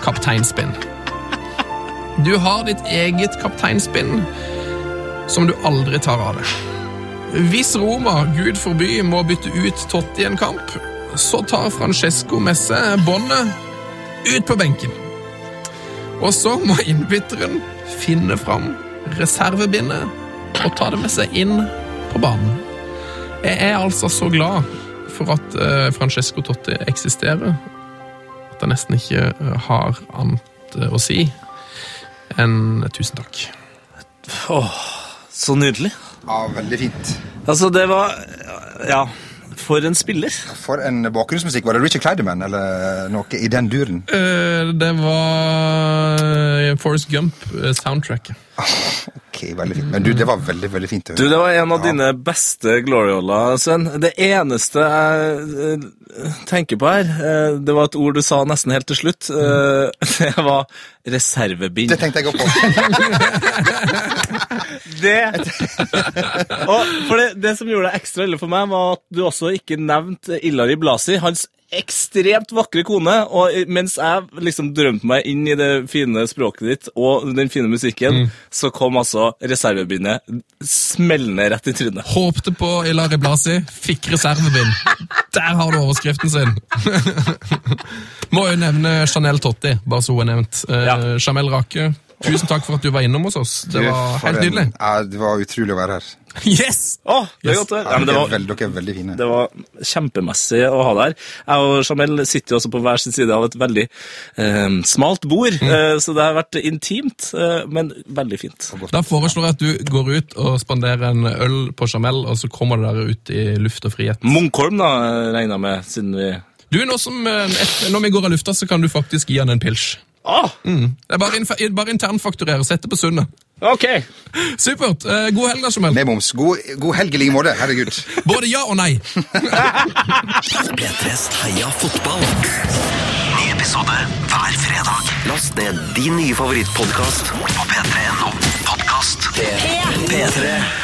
B: kapteinspinn. Du har ditt eget kapteinspinn som du aldri tar av deg. Hvis Roma, gud forby, må bytte ut Totti i en kamp, så tar Francesco med seg båndet ut på benken. Og så må innbytteren finne fram reservebindet og ta det med seg inn på banen. Jeg er altså så glad for at eh, Francesco Totti eksisterer, at jeg nesten ikke eh, har annet eh, å si enn eh, tusen takk.
A: Så nydelig.
E: Ja, veldig fint.
A: Altså, det var Ja, for en spiller.
E: For en bakgrunnsmusikk. Var det Richard Kleiderman eller noe i den duren?
B: Eh, det var eh, Forrest Gump-soundtracket.
E: Ok, veldig fint. Men du, det var veldig, veldig fint. å
A: Du,
E: høre.
A: Det var en av
E: Ja.
A: dine beste glorioler, Sven. Det eneste jeg eh, tenker på her, eh, det var et ord du sa nesten helt til slutt. eh, Det var reservebind.
E: Det tenkte jeg òg på.
A: Det! Og for det, det som gjorde det ekstra ille for meg, var at du også ikke nevnte Ilari Blasi. hans ekstremt vakre kone, og mens jeg liksom drømte meg inn i det fine språket ditt og den fine musikken,
E: Mm.
A: så kom altså reservebindet smellende rett i trynet.
B: Håpte på Ilari Blasi, fikk reservebind. Der har du overskriften sin! Må jo nevne Chanel Totti, bare så hun er nevnt. Eh,
A: Ja.
B: Jamel Rake, tusen takk for at du var innom hos oss. Det var
E: For
B: helt
E: en-
B: nydelig.
E: Ja, det var utrolig å være her.
B: Yes!
A: Å, det er godt å høre.
E: Ja,
A: Nei, men det
E: dere, er
A: var,
E: veld, dere er veldig fine.
A: det var kjempemessig å ha deg her. Jeg og Jamel sitter jo også på hver sin side av et veldig eh, smalt bord,
E: Mm.
A: eh, så det har vært intimt, eh, men veldig fint.
B: Da foreslår jeg at du går ut og spanderer en øl på Jamel, og så kommer det der ut i luft og frihet.
A: Munkholm, da, regner jeg med, siden vi
B: Du, nå som, eh, et, Når vi går av lufta, så kan du faktisk gi han en pilsj.
A: Å,
B: Det er bare, inf bare internfakturere. Sette på sundet.
A: ok!
B: Supert. Eh, god helg, da, Jamel.
E: Med moms. God, god helg i like måte. Herregud.
B: Både ja og nei.
D: P3s Heia fotball. Ny episode hver fredag. Last ned din nye favorittpodkast på p3.no podkast. P3.